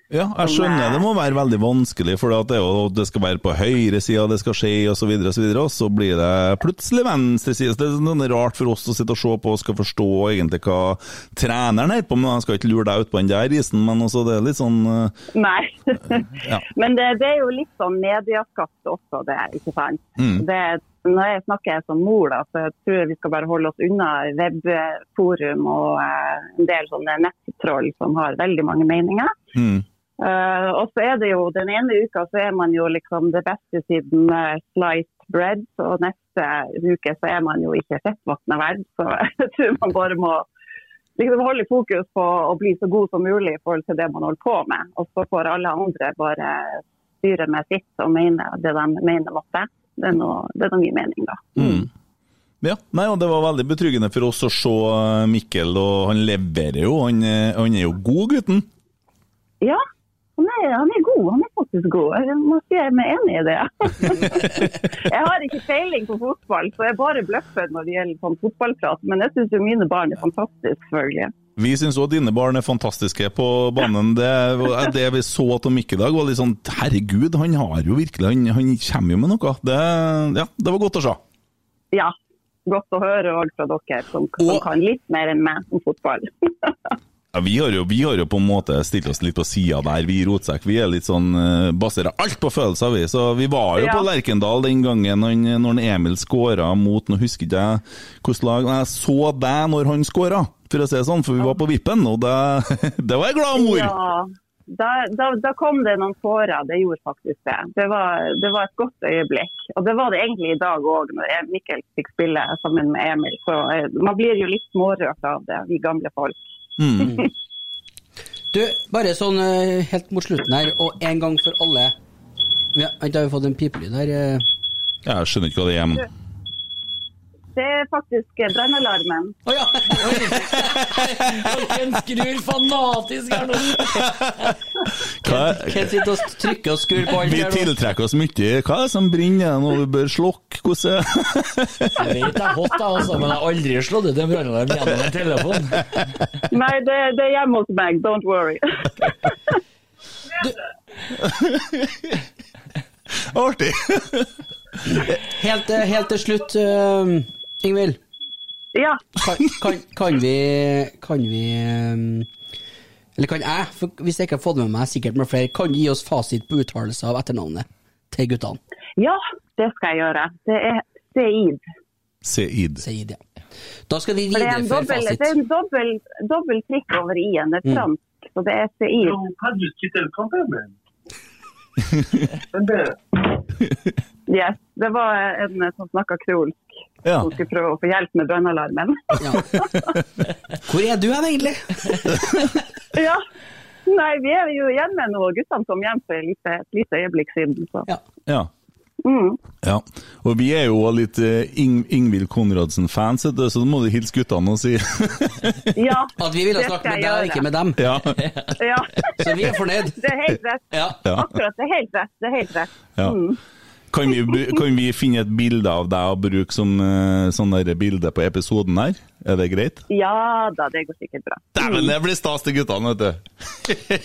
Ja, jeg skjønner det må være veldig vanskelig, for det, er jo- det skal være på høyre sida det skal skje, og så videre, og så videre, og så blir det plutselig venstre side. Så Det er sånn rart for oss å sitte og se på og skal forstå egentlig hva treneren holder på med. Jeg skal ikke lure deg ut på den der isen, men også det er litt sånn eh,
Nei.
Ja.
Men det, det er jo litt sånn medieskapt også, det. ikke sant?
Mm.
Det, når jeg snakker som mor, da, så tror jeg vi skal bare holde oss unna webforum og eh, en del sånne nettroll som har veldig mange meninger.
mm.
Eh, og så er det jo, Den ene uka så er man jo liksom det beste siden eh, sliced bread, og neste uke så er man jo ikke fettvannet verd. Så jeg tror man bare må liksom holde fokus på å bli så god som mulig i forhold til det man holder på med. Og så får alle andre bare styre med sitt og mene det de mener måtte. Det er noe, det er noe min mening, da.
Mm. Ja, nei, og Det var veldig betryggende for oss å se eh, Mikkel, og han leverer jo. Han, eh, han er jo god, gutten.
Ja, han er, han er god. Han er faktisk god. Jeg må si jeg er enig i det. jeg har ikke peiling på fotball, så jeg bare bløffer når det gjelder sånn fotballprat. Men jeg syns jo mine barn er fantastiske, selvfølgelig.
Vi syns òg dine barn er fantastiske på banen. Det, det vi så til Mikke i dag, var litt sånn Herregud, han har jo virkelig Han, han kommer jo med noe. Det, ja, det var godt å se.
Ja. Godt å høre òg fra dere som, som
Og-
kan litt mer enn meg om fotball.
Ja, vi, har jo, vi har jo på en måte stilt oss litt på sida der, vi i Rotsekk. Vi er litt sånn eh, baserer alt på følelser, vi. Så vi var jo
Ja.
på Lerkendal den gangen han, når han Emil skåra mot Nå husker ikke jeg hvilket lag men Jeg så deg når han skåra, for å si det sånn, for vi var på vippen, og det, det var jeg glad mor!
Ja, da, da, da kom det noen tårer. Det gjorde faktisk det. Det var, det var et godt øyeblikk. Og det var det egentlig i dag òg, når jeg- Mikkel fikk spille sammen med Emil. Så eh, man blir jo litt smårørt av det, vi gamle folk.
Mm.
Du, bare sånn eh, helt mot slutten her, og en gang for alle ja, Vent, da har vi fått en pipelyd her. eh.
Jeg skjønner ikke hva det er. men-
Det er faktisk eh, brannalarmen.
Å ja!
Den skrur fanatisk her nå!
Hva,
Kent sitter og trykker og skrur på alt
Vi
her nå.
tiltrekker oss mye. Hva er det som brenner når du bør slokke? Hvordan
Jeg vet det er hot, jeg, altså, men jeg har aldri slått ut en brannalarm gjennom en telefon.
Nei, det, det er hjemme hos meg. Don't worry.
Artig!
Helt, eh, helt til slutt, uh, Ingvild.
Ja,
Kan, kan, kan vi Kan vi eh, Eller kan jeg, for hvis jeg ikke har fått med meg sikkert med flere, kan du gi oss fasit på uttalelse av etternavnet til guttene?
ja, det skal jeg gjøre. Det er Seid.
Seid.
Seid, ja. Da skal vi
For det er en
videreføre
dobbel, det er
fasit. Mm.
en dobbel, dobbel prikk over i-en. Det er fransk, så det er Seid. Yes, det var en eh, som snakka kreolsk,
Ja.
Ah.
som skulle prøve å få hjelp med brannalarmen.
Ja. Hvor er du hen, egentlig?
ja. Nei, vi er jo hjemme nå. Guttene kom hjem for et lite, et lite øyeblikk siden. Så.
Ja.
Ja. ja. Og vi er jo også litt eh, Ing Ingvild Konradsen-fans, vet du, så da må du hilse guttene og si
Ja,
At vi ville
det
snakke
skal
med deg,
jeg gjøre.
ikke med dem.
ja.
Ja.
Så vi er fornøyd.
Det er helt rett.
Ja.
Ja.
Akkurat, det er helt rett. Det er helt rett.
ja. Kan vi, bru- kan vi finne et bilde av deg og bruke som eh, sånn der bilde på episoden her? Er det greit?
Ja da, det går sikkert bra.
Dæven, det blir stas til guttene, vet du.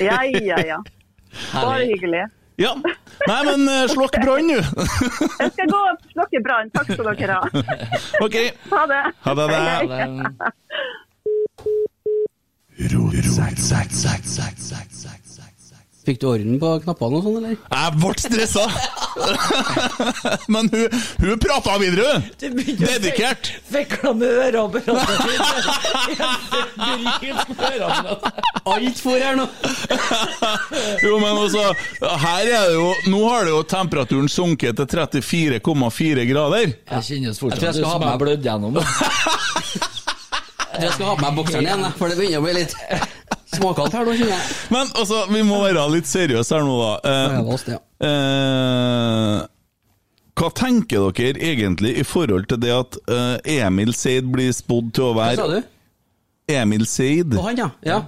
Ja, ja, ja. Bare hyggelig.
Ja. Nei, men eh, slokk brann, du.
Jeg skal gå og slokke brann. Takk skal dere ha.
OK.
Ha det.
Ha det. det.
Det er
Eh,
en-
Fikk du orden på knappene og sånn, eller?
Jeg ble stressa! Men hun, hun prata videre, hun! Dedikert!
Fikla med øreapparatet ditt!
Alt for her nå!
Jo, men altså, her er det jo Nå har det jo temperaturen sunket til 34,4 grader.
Jeg
Jeg kjennes
tror jeg
fortsatt
skal
ut
ha
som
med-
jeg blødde gjennom.
Jeg skal ha på meg bokseren igjen, jeg, for det begynner å bli litt småkaldt her nå, kjenner jeg.
Men altså, vi må være litt seriøse her nå, da.
Ja, det
Eh,
var oss, det, ja.
eh, hva tenker dere egentlig i forhold til det at eh, Emil Seid blir spådd til å
Hva sa
være
du?
Emil Seid?
På han, ja. ja.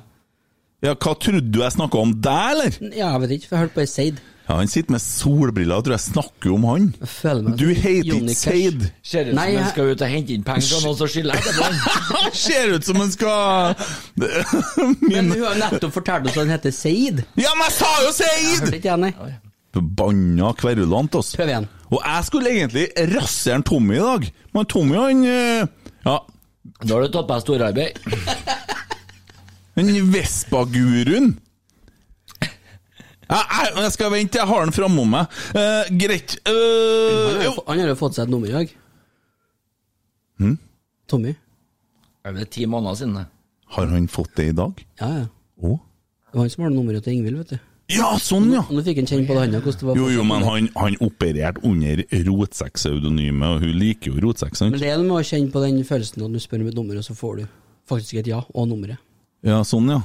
Ja, hva trodde du jeg snakka om deg, eller?
Ja, jeg vet ikke, for jeg hørte på ei Seid.
Ja, han sitter med solbriller, jeg tror jeg snakker om han.
Jeg føler meg
Du heter
Johnny
ikke
Cash.
Seid.
Ser ut som
Nei, jeg-
jeg skal ut og hente inn penger fra noen som skylder deg.
Han ser ut som han skal
Men
Min...
hun har jo nettopp fortalt oss at han heter Seid.
Ja, men jeg sa jo
Hørte
Seid!
ikke jeg, nei.
Forbanna kverulant, ass.
Prøv igjen.
Og jeg skulle egentlig rasere en Tommy i dag, men Tommy han eh, Ja,
Da har du tatt på deg storarbeid.
den Vespa-guruen. Jeg, jeg, jeg skal vente, jeg har den framom meg. Eh, greit.
Han
Eh,
har
jo. Hm?
jo, han har jo fått seg et nummer i dag. Tommy.
Er Det ti måneder siden. det?
har han fått det i dag?
Ja, ja.
Å?
Det var han som hadde nummeret til Ingvild, vet du.
Ja, sånn, ja!
Og nå fikk han kjenne på det andre, hvordan det var.
Jo, jo, men han, han opererte under Rotsekk-pseudonymet, og hun liker jo Rotsekk, sant?
Men det er noe med å kjenne på den følelsen at du spør om et nummer, og så får du faktisk et ja og nummeret.
Ja, sånn, ja.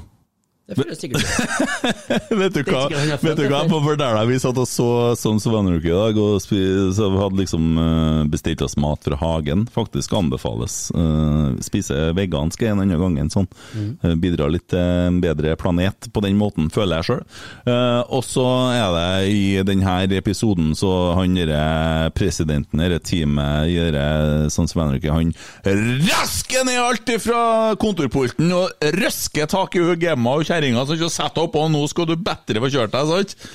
Det føles sikkert bra.
Vet du hva,
Det er sikkert han har
vet du
fått,
hva?
eller?
På Verdæla, vi satt og så Sons of Anarchy i dag, og spi, så vi hadde liksom eh, bestilt oss mat fra hagen. Faktisk anbefales eh, spise vegansk en annen gang enn sånn. Eh, bidrar litt til en bedre planet på den måten, føler jeg sjøl. og så er det i denne episoden så han derre presidenten, dette teamet, sånn i dette Sons of Anarchy, han rasker ned alt ifra kontorpulten og røsker tak i hun Gemma og kjerringa som ikke setter opp, og nå skal du bedre få kjørt deg, sant?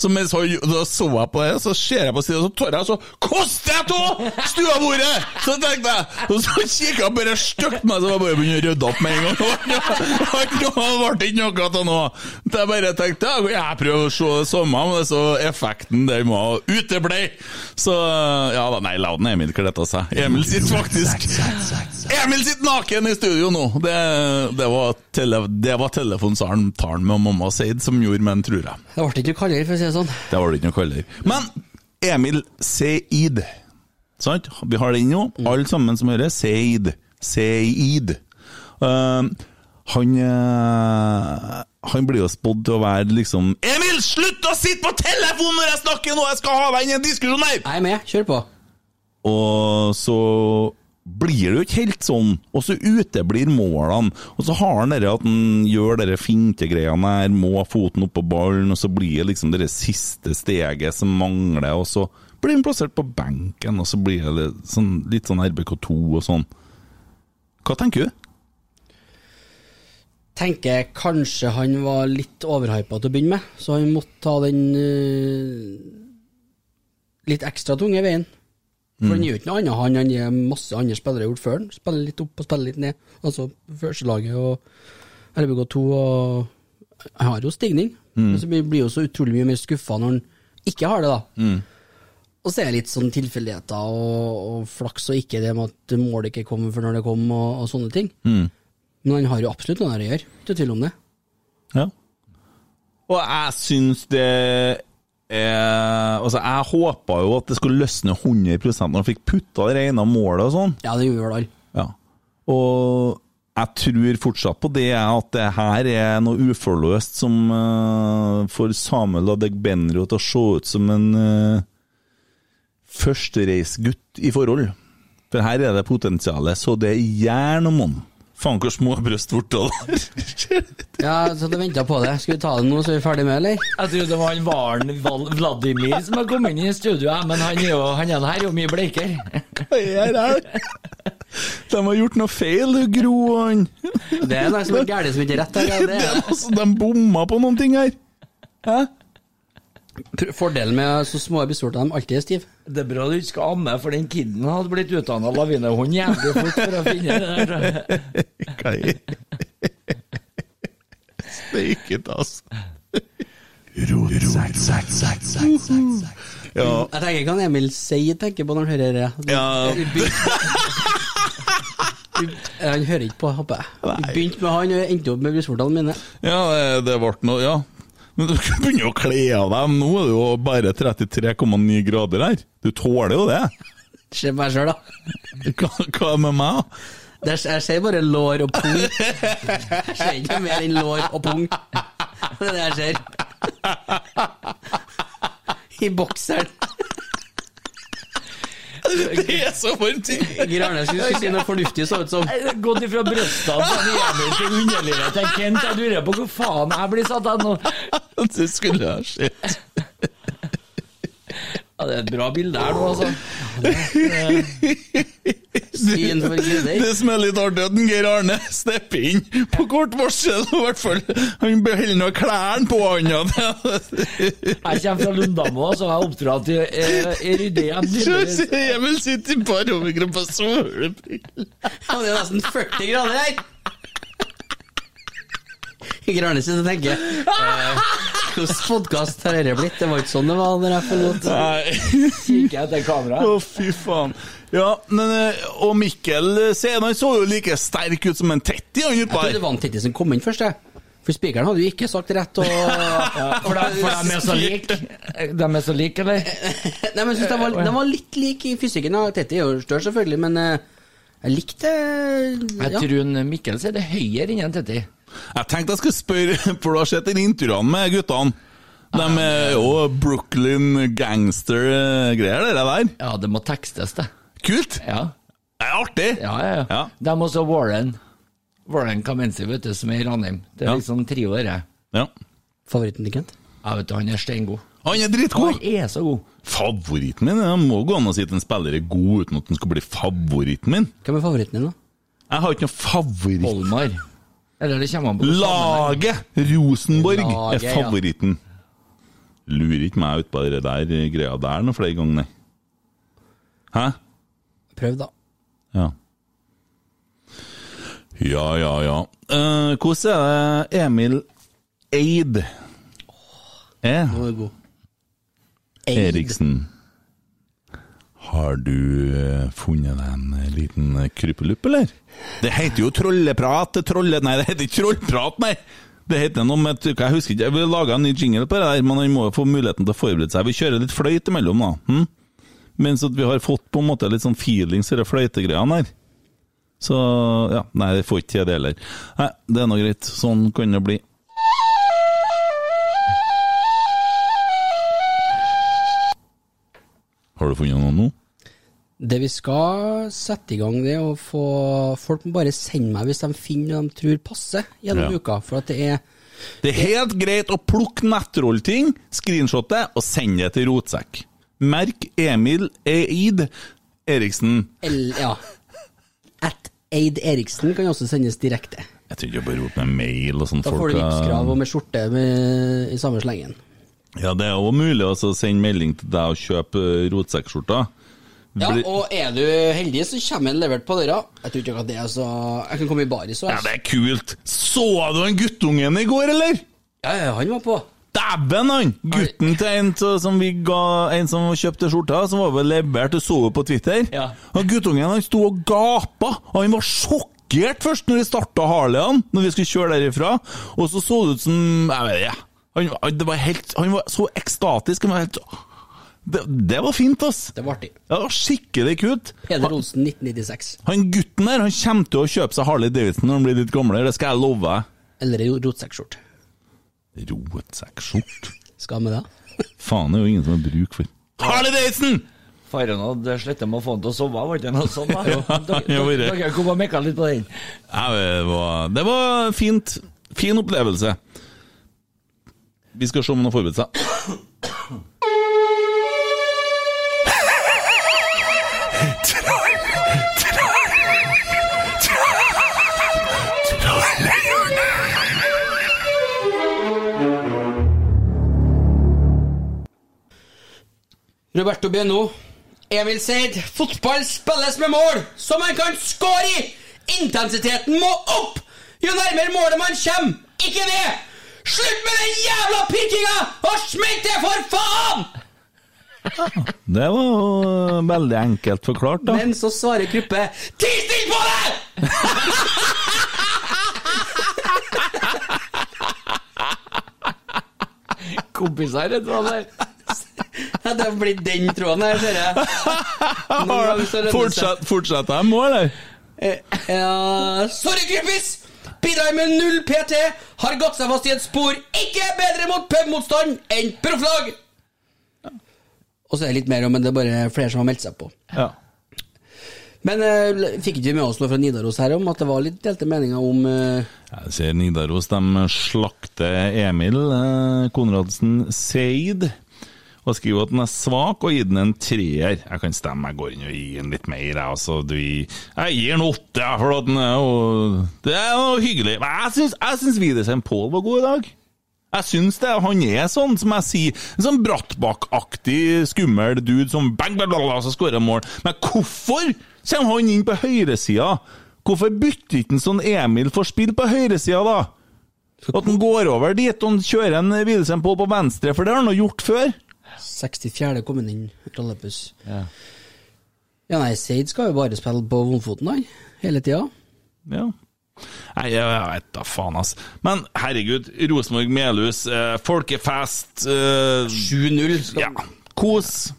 Så mens han, da så jeg på det, så ser jeg på siden, så tar jeg så koster jeg av stuebordet! Så tenkte jeg, og så kikket jeg bare stygt på meg, så var jeg bare begynte å rydde opp med en gang. Nå ble det ikke noe til noe. Så jeg bare tenkte, ja, jeg prøver å se det samme, men så effekten der må uteblei. Så, ja da, nei, la den Emil kletta seg. Emil sitter faktisk, Emil sitter naken i studio nå. Det, det var, tele, det var telefonsaren talen med mamma Seid som gjorde, men tror jeg.
Det ble ikke kaldere, for å si det sånn.
Det var det ikke noe kaldere. Men Emil Seid. Sant? Vi har den nå. Alle sammen som hører. Seid. Seid. Eh, han eh, Han blir jo spådd til å være liksom Emil, slutt å sitte på telefonen når jeg snakker nå! Jeg skal ha deg inn i en diskusjon her!
Jeg er med, kjør på.
Og så blir det jo ikke helt sånn, og så uteblir målene. Og så har han det at han gjør de fintegreiene her, må ha foten oppå ballen, og så blir det liksom det siste steget som mangler, og så blir han plassert på benken, og så blir det litt sånn, litt sånn RBK2 og sånn. Hva tenker du?
tenker kanskje han var litt overhypa til å begynne med, så han måtte ta den eh, litt ekstra tunge veien. For han gjør ikke noe annet, han, han gjør masse andre spillere gjort før han. Spiller litt opp og spiller litt ned. Altså førstelaget og RBK2 og Han har jo stigning, men så blir blir jo så utrolig mye mer skuffa når han ikke har det, da. Og så er det litt sånn tilfeldigheter og, og flaks og ikke det med at målet ikke kom for når det kom, og, og sånne ting. Men han har jo absolutt noe der å gjøre, ikke tvil om det.
Ja. Og jeg syns det er Altså, jeg håpa jo at det skulle løsne 100 når han fikk putta det ene målet og sånn.
Ja, det gjorde vel alle.
Ja. Og jeg tror fortsatt på det at det her er noe uforløst som eh, får Samuel Adegbenro til å se ut som en uh, førstereisgutt i forhold. For her er det potensialet, så det er jern om han. Faen hvor små bryst ble det der.
Ja, så hadde venta på det. Skal vi ta det nå, så er vi ferdig med, eller?
Jeg trodde det var han Varen Val Vladimir som har kommet inn i studioet, men han, er jo, han er her er jo mye bleikere.
Hva er det her? De har gjort noe feil, du Gro og han.
Det er noe som er galt som ikke er rett her.
Det er altså, de bomma på noen ting her.
Pr- Fordelen med så små episoder, de alltid er stive.
Det er bra du ikke skal amme, for den kiden hadde blitt utdanna lavinehund jævlig fort for å finne det der.
Hva er Steiket, altså. Ja,
Jeg tenker hva Emil sier, tenker på når han hører det.
ja,
Eh, Han hører ikke på, håper jeg. Vi begynte med han og endte opp med brystvortene mine.
ja eh, det- det ble noe, ja. Men du begynner jo å kle av deg. Nå er det jo bare 33,9 grader her. Du tåler jo det.
Se på meg sjøl, da.
Hva, hva med meg?
Det er, jeg ser bare lår og pung. Jeg ser ikke noe mer enn lår og pung. Det er det jeg ser. I bokseren.
Det er så varmt!
Grane skulle si noe fornuftig, så ut som.
Gått ifra brystene til Emil til underlivet til Kent. Jeg lurer på hvor faen jeg blir satt av nå.
Det skulle jeg ha sett.
Ja, det er et bra bilde her nå, altså.
Syn for guder.
Det som er litt artig, at Geir Arne stepper inn på kort varsel, i hvert fall. Han beholder nå klærne på han. ja.
Jeg kommer fra Lundamo, så jeg er oppdratt i, eh, i Rydén.
Så sier Emil sitter i bare overkropp og solebriller.
Ja, det er nesten 40 grader her! Grane sitter og tenker eh, Hvilken podkast har dette blitt? Det var ikke sånn det var når jeg forlot.
Nei,
Kikker jeg etter kameraet.
å fy faen. Ja, men, eh, og Mikkel Seen, han så jo like sterk ut som en 30 han
Jeg
utpå
trodde det
her.
var en Titti som kom inn først, jeg. For spikeren hadde jo ikke sagt rett, og
For de, for de er så like? De er så like, eller?
Nei, men jeg synes den var, den var litt lik i fysikken. da. Titti er jo større, selvfølgelig, men eh, jeg likte
Jeg
ja.
tror en Mikkel er det høyere enn en Tetti.
Jeg tenkte jeg skulle spørre, for du har sett den intervjuene med guttene. De
Ah,
er jo Brooklyn gangster-greier, det der.
Ja, det må tekstes, det.
Kult!
Ja,
Det er artig!
ja, ja. ja.
Ja.
De og så Warren. Warren Kamenzi, vet du, som er i Ranheim. Det
Ja.
er liksom trio, dette.
Ja.
Favoritten til Kent?
Ja, vet du, han er steingod.
Han er dritgod!
Han er så god.
Favoritten min? Det må gå an å si at en spiller er god uten at den skal bli favoritten min.
Hvem er favoritten din, da?
Jeg har ikke noen favoritt.
Olmar. Eller det kommer han på.
Laget Rosenborg
Laget,
er
ja.
favoritten. Lurer ikke meg ut på det der eh, greia der noen flere ganger, nei. Hæ?
Prøv, da.
Ja. Ja, ja, ja. Eh, hvordan er det Emil Eid Eh? er?
Nå er du god.
Eriksen. Har du eh, funnet deg en eh, liten eh, krypelupp, eller? Det heter jo trolleprat, det trolle... Nei, det heter ikke trollprat, nei! Det heter noe med Jeg husker ikke, jeg vil lage en ny jingle på det der, men han må jo få muligheten til å forberede seg. Vi kjører litt fløyt imellom, da. Hm? Mens at vi har fått på en måte litt sånn feelings i de fløytegreiene her. Så ja, nei, det får ikke til det heller. Nei, det er nå greit. Sånn kan det bli. Har du funnet noe nå?
Det vi skal sette i gang, det er å få Folk må bare sende meg hvis de finner noe de tror passer gjennom
Ja.
uka. For at det er
Det er helt greit å plukke nettrollting, screenshotte, og sende det til rotsekk. Merk Emil Eid Eriksen.
L, ja. At Eid Eriksen kan også sendes direkte.
Jeg tror ikke jeg bare roper med mail og sånn.
Da får
folk
du
har-
Vipps-krav og med skjorte med, i samme slengen.
Ja, det er òg mulig også å sende melding til deg og kjøpe eh, rotsekkskjorta.
Ja,
Bli-
og er du heldig, så kommer en levert på døra. Jeg tror ikke at det er så Jeg kan komme i baris altså. og
Ja, det er kult! Så du han guttungen i går, eller?
Ja, ja, han var på.
Dæven, han! Gutten til en så- som vi ga En som kjøpte skjorta, som var vel levert og så det på Twitter.
Ja.
Han guttungen han sto og gapa, og han var sjokkert først når vi starta Harleyan, når vi skulle kjøre derifra. Og så så det ut som Jeg vet ikke. Han, han- det var helt, han var så ekstatisk. Han var helt, det, det var fint, ass.
Det var artig.
Det var skikkelig kult.
Peder Olsen, 1996.
Han gutten der han kommer til å kjøpe seg Harley Davidson når han blir litt gamlere, det skal jeg love deg.
Eller i rotsekkskjorte.
Rotsekkskjort?
Skal med det.
Faen, det er jo ingen som har bruk for Harley Davidson!
Faren hadde slett med å få han til å sove, var ikke det noe sånt? da? Dere-
jo,
dere-
det.
Dere kom og mekka litt på den.
Ja, det, var, det var fint. Fin opplevelse. Vi skal se om han har forberedt seg.
Roberto Beno. Emil Seid. Fotball spilles med mål som man kan score i! Intensiteten må opp! Jo nærmere målet man kommer, ikke ned! Slutt med den jævla pirkinga! Og smekk det, for faen!
Det var jo veldig enkelt forklart, da.
Men så svarer Kruppe Ti stille på deg!
Kompiser, vet du hva det er.
Ja, det blir den tråden her, ser jeg. Noen ganger så lønner det seg.
Fortsett, fortsetter jeg må, eller?
Ja, sorry, gruppis! Bidrar med null PT, har gått seg fast i et spor. Ikke bedre mot pubmotstand enn profflag! Og så er det litt mer, men det er bare flere som har meldt seg på.
Ja.
Men eh, fikk ikke vi med oss noe fra Nidaros her om at det var litt delte meninger om eh,
Jeg ser Nidaros, de slakter Emil eh, Konradsen Seid. Og skriver at den er svak, og gir den en treer. Jeg kan stemme, jeg går inn og gir den litt mer. Jeg, altså, du, jeg gir den åtte, jeg, for at den er jo Det er jo hyggelig. Men jeg syns, jeg syns Widersen Pål var god i dag. Jeg syns det. Han er sånn, som jeg sier, en sånn Brattbakk-aktig, skummel dude som bang, bang, bang, bang, så skårer mål. Men hvorfor kommer han inn på høyresida? Hvorfor bytter ikke en sånn Emil for spill på høyresida, da? At han går over dit og han kjører en Widesheim Pål på venstre, for det har han jo gjort før.
64. kom han inn, Rallepus? Ja. nei, Seid skal jo bare spille på vondfoten, han. Hele tida.
Ja. Nei, jeg, jeg vet da faen, ass. Men herregud, Rosenborg-Melhus, eh, folkefest eh,
7-0. skal-
Ja, kos.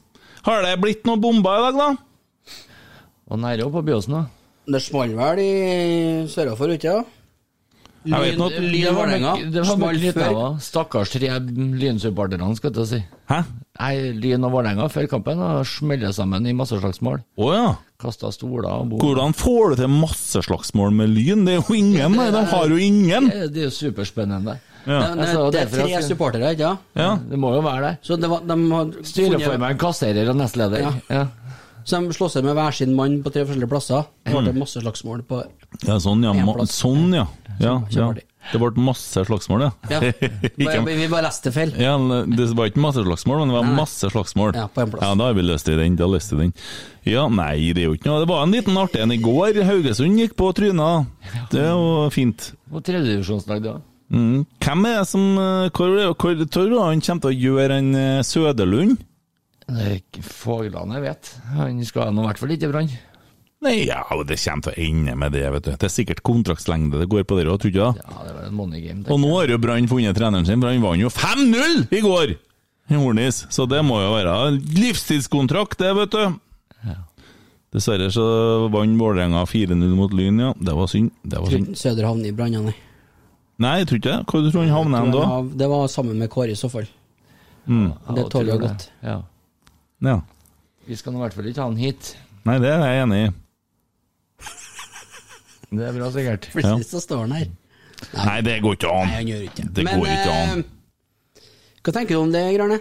Har det blitt noen bomber i dag, da?
Og nære opp på Byåsen, da.
Det smalt vel i sørafor, ikke sant?
Jeg vet noe.
Lyn og Vålerenga.
Det var
Smalt
mye litt
før.
av det. Stakkars tre lynsupporterne, skal jeg til å si.
Hæ?
Nei, Lyn og Vålerenga før kampen og smeller sammen i masse slagsmål.
Å ja.
Kasta stoler og bord.
Hvordan får du til masseslagsmål med lyn? Det er jo ingen, nei, de har jo ingen!
Det det er jo superspennende.
Ja.
Nei,
Jeg sa
eh, det er
derfor
tre
at-
supportere, ikke sant?
Ja.
Det må jo være det.
Så det var, de har funnet,
Styreformann, kasserer og nestleder.
Ja.
Ja.
Så de slår seg med hver sin mann på tre forskjellige plasser. Det ble masse slagsmål på
ja, sånn ja. Ma sånn, ja. ja, ja. Det ble masse slagsmål,
Ja,
ja.
bare,
Ikke,
vi bare leste feil.
ja, det var ikke masse slagsmål, men det var masse slagsmål.
Ja, på en plass.
Ja, da har vi løst i den. Da løste vi den. Ja, nei, det er jo ikke noe. Det var en liten artig en i går. Haugesund gikk på tryna. Det er jo fint.
Og tredjedivisjonslag, det òg.
Mm. Hvem er det som eh, Hvor, hvor tror du han kommer til å gjøre en eh, Søderlund?
Fogland, jeg vet. Han skal nå i hvert fall ikke i brann.
Nei, ja, det kommer til å ende med det, vet du. Det er sikkert kontraktslengde det går på dere òg, tror du ikke det?
Ja, det var en money game.
Og
tenker
nå har jo Brann funnet treneren sin, for han vant jo 5-0 i går! i Hornis, så det må jo være en livstidskontrakt, det, vet du. Dessverre så vant Vålerenga 4-0 mot Lyn, ja. Det var synd. Det var synd.
Uten Søder havner i brannene.
Nei, jeg tror ikke det. Hvor tror du han havner hen da?
Det var sammen med Kåre i så fall.
jeg.
det
Ja,
tåler
tror
jeg godt.
Ja.
Ja.
Vi skal nå i hvert fall ikke ha han hit.
Nei, det er jeg enig i.
Det er bra, sikkert.
Plutselig så står han her.
Nei, det går ikke
Nei, han
an.
gjør ikke
Det går ikke an.
eh, Hva tenker du om det, Grane?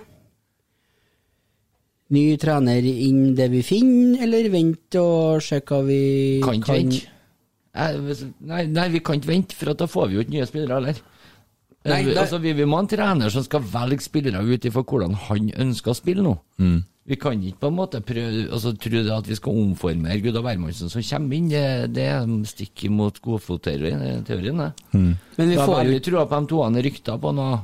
Ny trener inn det vi finner, eller vent og se hva vi
Kan ikke vente. Jeg- Nei, nei, vi kan ikke vente, for at da får vi jo ikke nye spillere heller.
Nei,
Eh,
nei.
Altså, vi, vi må ha en trener som skal velge spillere ut ifra hvordan han ønsker å spille nå.
Mm.
Vi kan ikke på en måte prøve, altså, tro det at vi skal omformere Gudda Wermansen som kommer inn. Det, det er stikk imot godfotteorien. eh, teorien, det.
Men vi
Da
får
har
jo
vi trua på de toene rykta på nå.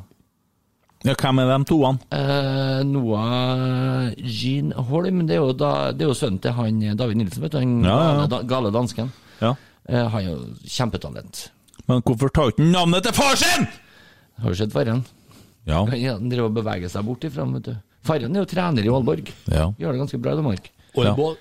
Ja, hvem er de toene?
Eh, Noah Jean Holm, det er jo, da, det er jo sønnen til han eh, David Nilsen, vet du. Han
Ja, ja, ja.
Gale, da, gale dansken.
Ja.
Eh, han er jo kjempetalent.
Men hvorfor tar ikke han navnet til far sin?!
Har du sett Farren?
Ja.
Han driver og beveger seg bort ifra, vet du. Farren er jo trener i Aalborg.
ja.
Gjør det ganske bra i Danmark.
ja.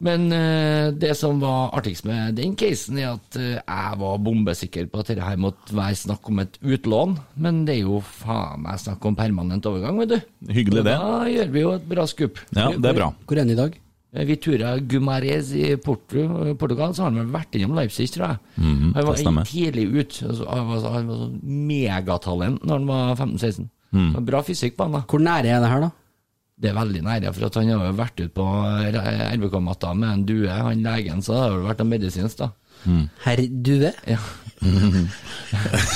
Men eh, det som var artigst med den casen, er at eh, jeg var bombesikker på at dette her måtte være snakk om et utlån, men det er jo faen meg snakk om permanent overgang, vet du.
Hyggelig, det.
Da gjør vi jo et bra skupp.
Ja, det er bra.
Hvor er han i dag?
Eh, Vitura Gumarez i Porto, eh, Portugal, så har han vel vært innom Leipzig, tror jeg. han
Mhm, det stemmer.
var tidlig ut. Altså, han var, han var sånn megatalent når han var 15-16.
Mhm.
Det var Bra fysikk på han, da.
Hvor nære er det her, da?
Det er veldig nære, for at han har jo vært ute på eh, RBK-matta med en due. Han legen sa det har jo vært noe medisinsk, da.
Herr Due?
Ja.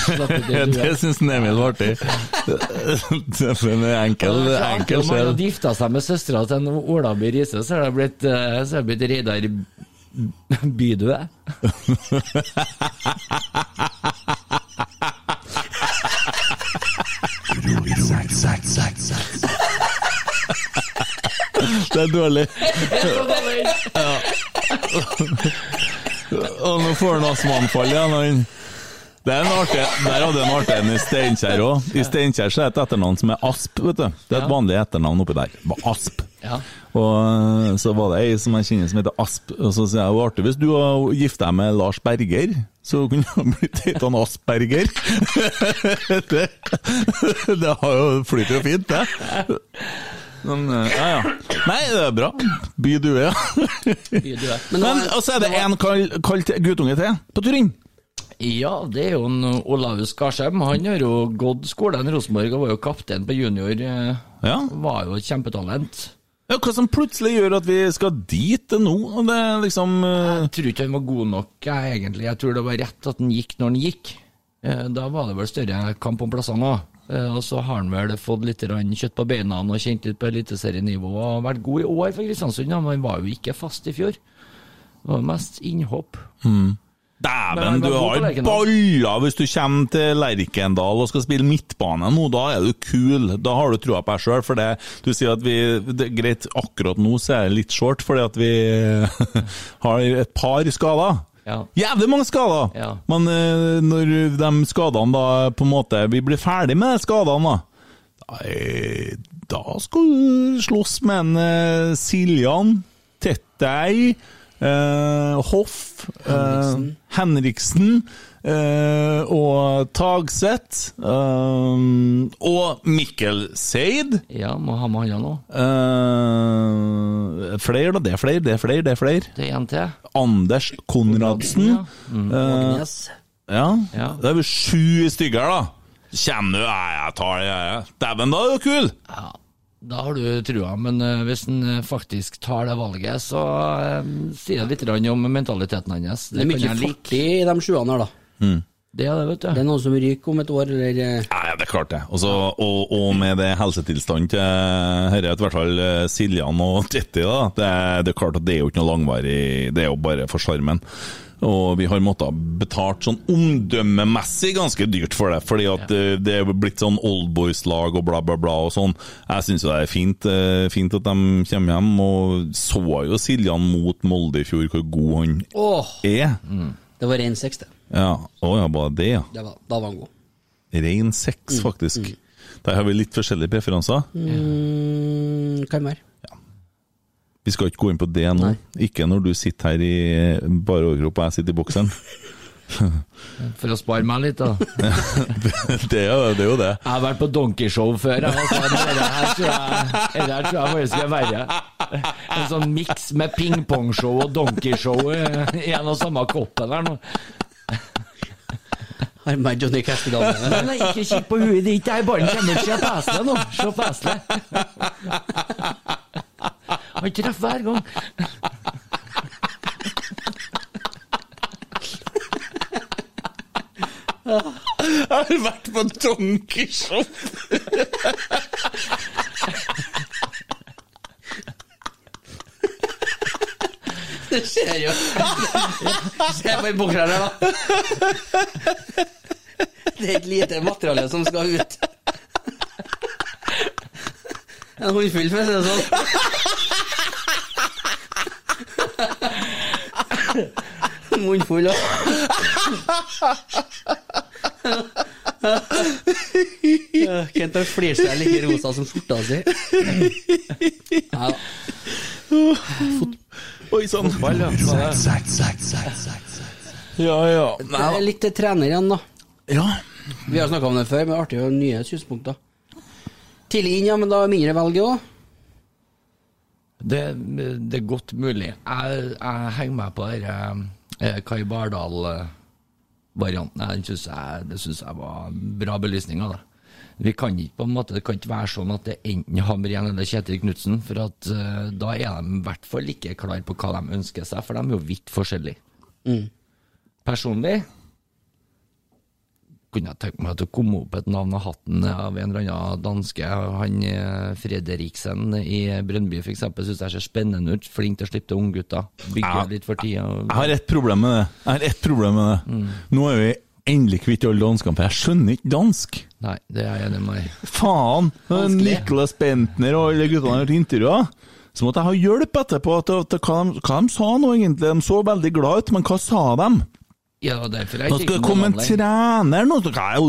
Slapp ut en due.
Det syns Emil var artig. Det er en enkel,
Det er så artig,
enkel
om Han
sjel.
hadde gifta seg med søstera til en Olaby Riise, så har det blitt, eh, så har det blitt Reidar B- Bydø.
Det er dårlig. Og nå får han astmaanfall igjen. Han. Det er en artig, der hadde han artig en i Steinkjer òg. I Steinkjer så er det et etternavn som er Asp, vet du. Det er et vanlig etternavn oppi der. Bare Asp.
Ja.
Og øh, så var det ei som jeg kjenner som heter Asp, og så sier jeg jo artig hvis du har gifta deg med Lars Berger, så kunne du ha blitt hett han Asperger. det, det har jo flyter jo fint, det. Men, øh, ja, ja. Nei, det er bra. By du er.
Bydø.
Men, og så er det én kald, kald te- guttunge til på Turin.
Ja, det er jo en Olaus Garsheim. Han har jo gått skolen i Rosenborg og var jo kaptein på junior. eh,
Ja.
Var jo et kjempetalent.
ja. Hva som plutselig gjør at vi skal dit nå? Og det er liksom øh,
Jeg tror ikke han var god nok, jeg, egentlig. Jeg tror det var rett at han gikk når han gikk. Eh, Da var det vel større kamp om plassene òg. Og så har han vel fått litt grann kjøtt på beina og kjent litt på eliteserienivå. Og har vært god i år for Kristiansund, da, men han var jo ikke fast i fjor. Det var mest innhopp.
Dæven,
Men han var
du
god på
har
Lerkendal.
baller hvis du kommer til Lerkendal og skal spille midtbane nå. Da er du kul. Da har du trua på deg sjøl. For det, du sier at vi det er Greit, akkurat nå så er det litt short, fordi at vi har et par skader.
Ja.
Jævlig mange skader!
Ja.
Men eh, når de skadene da på en måte Vi blir ferdig med de skadene, da. Da, eh, da skal du slåss med en eh, Siljan, Tettei, eh, Hoff, Henriksen, eh, Henriksen eh, og Tagseth. eh, og Mikkel Seid.
ja, må ha med han nå.
Eh, flere, da. Det er flere, det er flere, det er flere.
Det er en til.
Anders Konradsen.
Ja.
Åknes?
Ja.
Ja.
Det er vel sju stykker, her, da. Kjenner du Nei, jeg tar det, jeg. jeg. Dæven, da er det jo kul!
Ja, da har du trua, men eh, hvis han eh, faktisk tar det valget, så eh, sier det litt grann om mentaliteten hans.
Det er
kan
mye
jeg like.
fartig i de sjuene her, da.
Det er det, vet
Det
du.
er noen som ryker om et år, eller eh,
Ja, ja, det er klart det. Og, så, og, og med det helsetilstanden til herre, i hvert fall eh, Siljan og Titti, da, det, er- det er klart at det er jo ikke noe langvarig, det er jo bare for sjarmen. Og vi har måttet ha betalt sånn omdømmemessig ganske dyrt for det, fordi at eh, det er blitt sånn oldboys-lag og bla, bla, bla og sånn. Jeg syns jo det er fint, eh, fint at de kommer hjem, og så jo Siljan mot Molde i fjor hvor god han
Åh!
er.
Det var rein seks, det.
E. Ja, å ja, bare det, ja.
Det var- Da var han god.
Rein seks, faktisk. Der har vi litt forskjellige preferanser.
Mm, kan være.
Vi skal ikke gå inn på det nå. Ikke når du sitter her i bare overkropp og jeg sitter i bokseren.
For å spare meg litt, da.
det, er, jo- det er jo det.
Jeg har vært på donkeyshow før. Jeg, altså, dette her tror jeg, dette her tror jeg faktisk er verre. En sånn miks med pingpongshow og donkeyshow eh, i en og samme koppen her nå.
Har med Johnny Cash i dag.
Men jeg ikke kikk på huet ditt, jeg bare kommer til å se på eselet nå. Se på eselet. Han treffer hver gang.
Jeg har vært på Donkey Shop!
Det skjer jo. Se på den bokseren her, da. Det er et lite materiale som skal ut. En håndfull, for å si det sånn. Munnfull, da. Kent har flirt seg like rosa som skjorta si. Ja, da.
Oi sånn. sann.
Sånn,
Ja, ja.
Det er litt til trener igjen, da.
ja.
Vi har snakka om det før, men det er artig å ha nye synspunkter. Tidlig inn, ja, men da er mindre velg òg.
Det, det er godt mulig. Jeg, jeg henger meg på denne eh, Kai Bardal-varianten. Den synes jeg, det syns jeg var bra belysning av det. Vi kan ikke på en måte, Det kan ikke være sånn at det er enten Hamren eller Kjetil Knutsen, for at, eh, da er de i hvert fall ikke klar på hva de ønsker seg, for de er jo vidt forskjellige. Personlig kunne jeg tenke meg at det kom opp et navn av hatten av en eller annen danske. Han eh, Fredriksen i Brøndby f.eks. syns jeg ser spennende ut. Flink til å slippe til unggutter. Bygger
Ja.
litt for tida.
Jeg har ett problem med det. Jeg har ett problem med det. Nå er vi endelig kvitt alle danskene, for jeg skjønner ikke dansk.
Nei, det er jeg enig med deg i.
Faen!
Vanskelig.
Niklas Bentner og alle guttene har vært intervjua. Så måtte jeg ha hjelp etterpå til, til hva, de, hva de sa nå, egentlig. De så veldig glad ut, men hva sa de?
Ja, derfor er
Nå
jeg
skal det
ikke
komme en
noe navn lenger.
trener nå så kan Jeg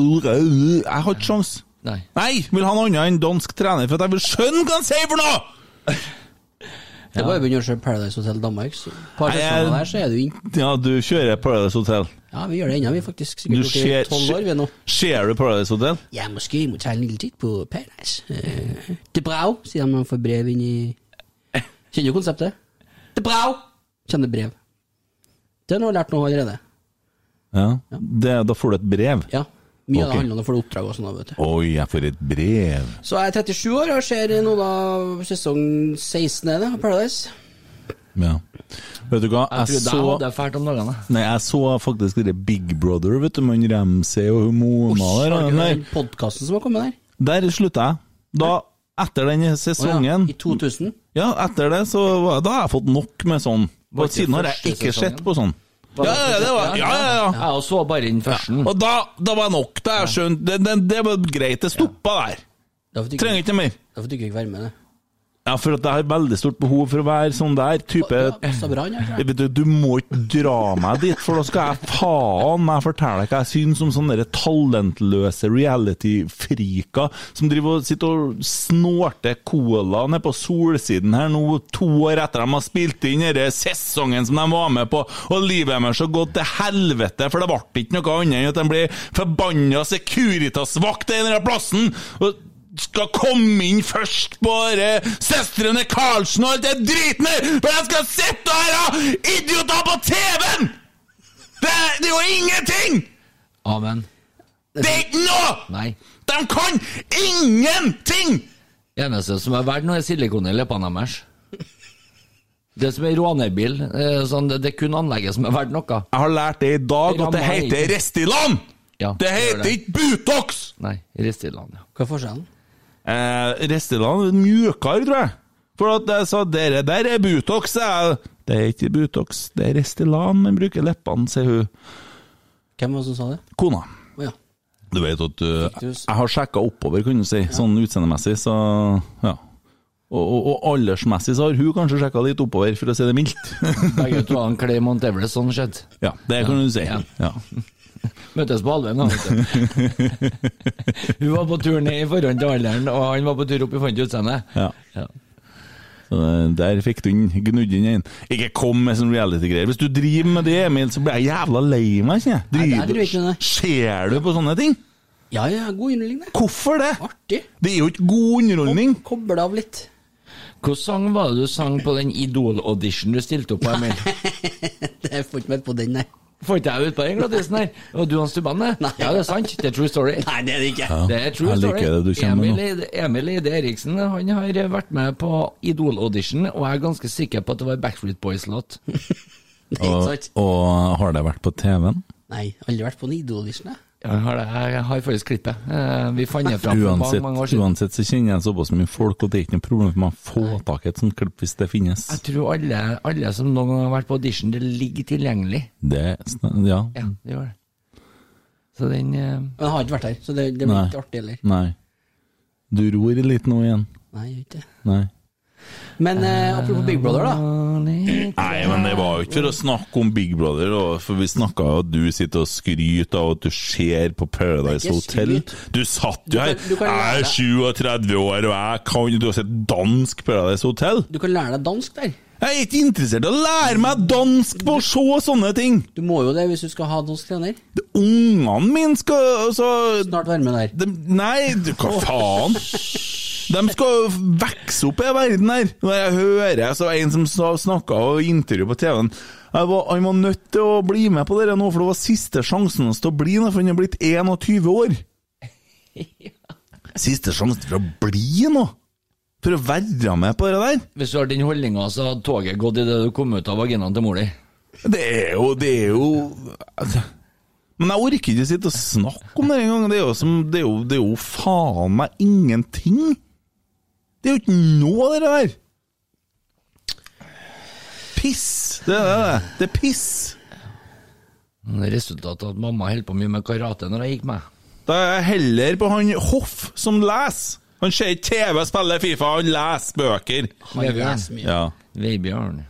jeg har ikke sjans.
Nei.
Nei! Vil ha noe annet enn dansk trener, for at jeg vil skjønne hva han sier for noe!
Det var jo begynner å se Paradise Hotel Danmark. Så par
Nei, jeg-
sesonger der, så er du inn.
Ja, du kjører Paradise Hotel.
Ja, vi gjør det ennå, vi er faktisk.
Du
Sikkert borti
ser,
tolv år, vi er nå.
ser du Paradise Hotel?
Ja, måske må ta en liten titt på Paradise. Eh, Det er bra, sier han når han får brev inn i Kjenner du konseptet? Det er bra! Kjenner brev. Det har han lært nå allerede.
Ja. Det, da får du et brev.
Ja. Mye av
Ok.
det handler om å få oppdrag og sånn, da, vet du.
Oi, jeg får et brev.
Så jeg er 37 år og ser nå da sesong 16 er det, av Paradise.
Ja. Vet du hva, jeg
Jeg trodde jeg
så
hadde det fælt om dagene.
Nei, jeg så faktisk det Big Brother, vet du, med han Ramsey og hun Mona
Har
der.
du
Nei,
den podkasten som har kommet der?
der slutta jeg. Da, etter den sesongen
I 2000.
Ja, etter det så var- Da har jeg fått nok med sånn.
Var
Og
ikke
siden har jeg
første
ikke sett
sesongen?
på sånn. Ja, ja, det var, ja, ja, ja.
Jeg så bare den første.
Og da, da var jeg nok. Da har jeg skjønt det, det, det var greit. Det stoppa der.
Da fikk du
Trenger
ikke,
ikke mer.
da fikk du ikke være med. det.
Ja, for at jeg har veldig stort behov for å være sånn der type
Ja, passet bra, han, ja.
Vet du, du må ikke dra meg dit, for da skal jeg faen meg fortelle deg hva jeg syns om sånne der talentløse reality-friker som driver og sitter og snorter cola nede på solsiden her nå, to år etter de har spilt inn denne sesongen som de var med på, og livet deres har gått til helvete, for det ble ikke noe annet enn at de ble forbanna Securitas-vakt til den der plassen! og skal komme inn først på dere søstrene Karlsen og alt det driten der, for jeg skal sitte her og idioter på TV-en! Det, er- det er jo ingenting!
Amen.
Det er ikke noe!
Nei.
De kan ingenting!
Eneste som er verdt noe, er silikon i leppene deres. Det som er rånebil. eh, Sånn, det, det er kun anlegget som er verdt noe.
Jeg har lært det i dag at det
Rammer
heter
ikke.
Restilan!
Ja,
Det
gjør
heter
det.
ikke Butox!
Nei, Ristiland, ja.
Hva er forskjellen?
Eh, Restilan er mjukere, tror jeg. For at jeg sa dere der er Butox. sa Jeg. Det er ikke Butox, det er Restilan man bruker leppene, sier hun.
Hvem var det som sa det?
Kona.
Å ja.
Du vet at uh,
du-
jeg har sjekka oppover, kan du si, sånn utseendemessig, så ja. Og, og, og aldersmessig så har hun kanskje sjekka litt oppover, for å si det mildt.
Begge to har en Clay Mount Everest, sånn sett.
ja, det kan du si.
Ja.
Ja.
Møttes på Alvheim, da. vet du. Hun var på tur ned i forhånd til alderen, og han var på tur opp i forhold til utseendet.
Ja. Så eh, der fikk du den, gnudd inn en. Ikke kom med sånn reality-greier. Hvis du driver med det, Emil, så blir jeg jævla lei meg, kjenner jeg.
Nei, det er
Driver-
du ikke, nei.
Ser du på sånne ting?
ja, ja, god underholdning, det.
Hvorfor det?
Artig.
Det er jo ikke god underholdning.
Koble av litt.
Hvilken sang var det du sang på den Idol-audition du stilte opp på, Emil?
Jeg får ikke med på den, nei.
Får ikke jeg ut på den glattisen her? Og du og Stubane?
Nei.
Ja, det er sant. Det er true story.
Nei, det er det ikke.
Det er true
jeg liker
story.
det du kommer med
Emil,
nå.
Eide- Emil Eide Eriksen han har vært med på Idol-audition, og jeg er ganske sikker på at det var Backstreet Boys-låt.
Det er ikke sant.
Og har det vært på TV-en?
Nei, aldri vært på en Idol-audition, jeg.
Ja, Jeg har, det. jeg har faktisk klippet. Eh, Vi fant det fram for mange,
Uansett,
mange år siden.
uansett så kjenner jeg såpass mye folk, og det er ikke noe problem for meg å få tak i et sånt klipp hvis det finnes.
Jeg tror alle, alle som noen gang har vært på audition, det ligger tilgjengelig.
Det er sn- Ja.
Ja, det gjør det. Så den eh,
Men jeg har ikke vært her, så det, det blir
Nei.
ikke artig heller.
Nei. Du ror litt nå igjen.
Nei, jeg gjør ikke det.
Nei.
Men eh, apropos Big Brother, da.
Nei, men det var jo ikke for å snakke om Big Brother, og- for vi snakka jo at du sitter og skryter av at du ser på Paradise
Det er ikke
Hotel.
skryt.
Du satt jo her!
Du kan- du kan lære
Jeg er
deg.
37 år, og jeg kan Du har sett dansk Paradise Hotel?
Du kan lære deg dansk der.
Jeg er ikke interessert i å lære meg dansk på å se sånne ting!
Du må jo det hvis du skal ha dansk trener.
Det- Ungene mine skal altså,
Snart være med der.
de, Nei, du, hva faen? De skal vokse opp i verden her. Når jeg hører så en som sna- snakka og intervju på TV-en jeg var, Han var nødt til å bli med på det nå, for det var siste sjansen hans til å bli nå, for han er blitt 21 år. Siste sjansen for å bli nå! For å være med på det der.
Hvis du har den holdninga, så hadde toget gått idet du kom ut av vaginaen til mor di.
Det er jo, det er jo altså. Men jeg orker ikke sitte og snakke om det engang. Det, er jo som- det, er jo- det er jo faen meg ingenting. Det er jo ikke noe av det der. Piss. Det er det. Det er piss.
Resultatet at mamma holdt på mye med karate når jeg gikk med.
Da er jeg heller på han Hoff som leser. Han ser ikke TV, spiller Fifa, han leser bøker.
Vebjørn.
leser mye.
Ja.
Vebjørn.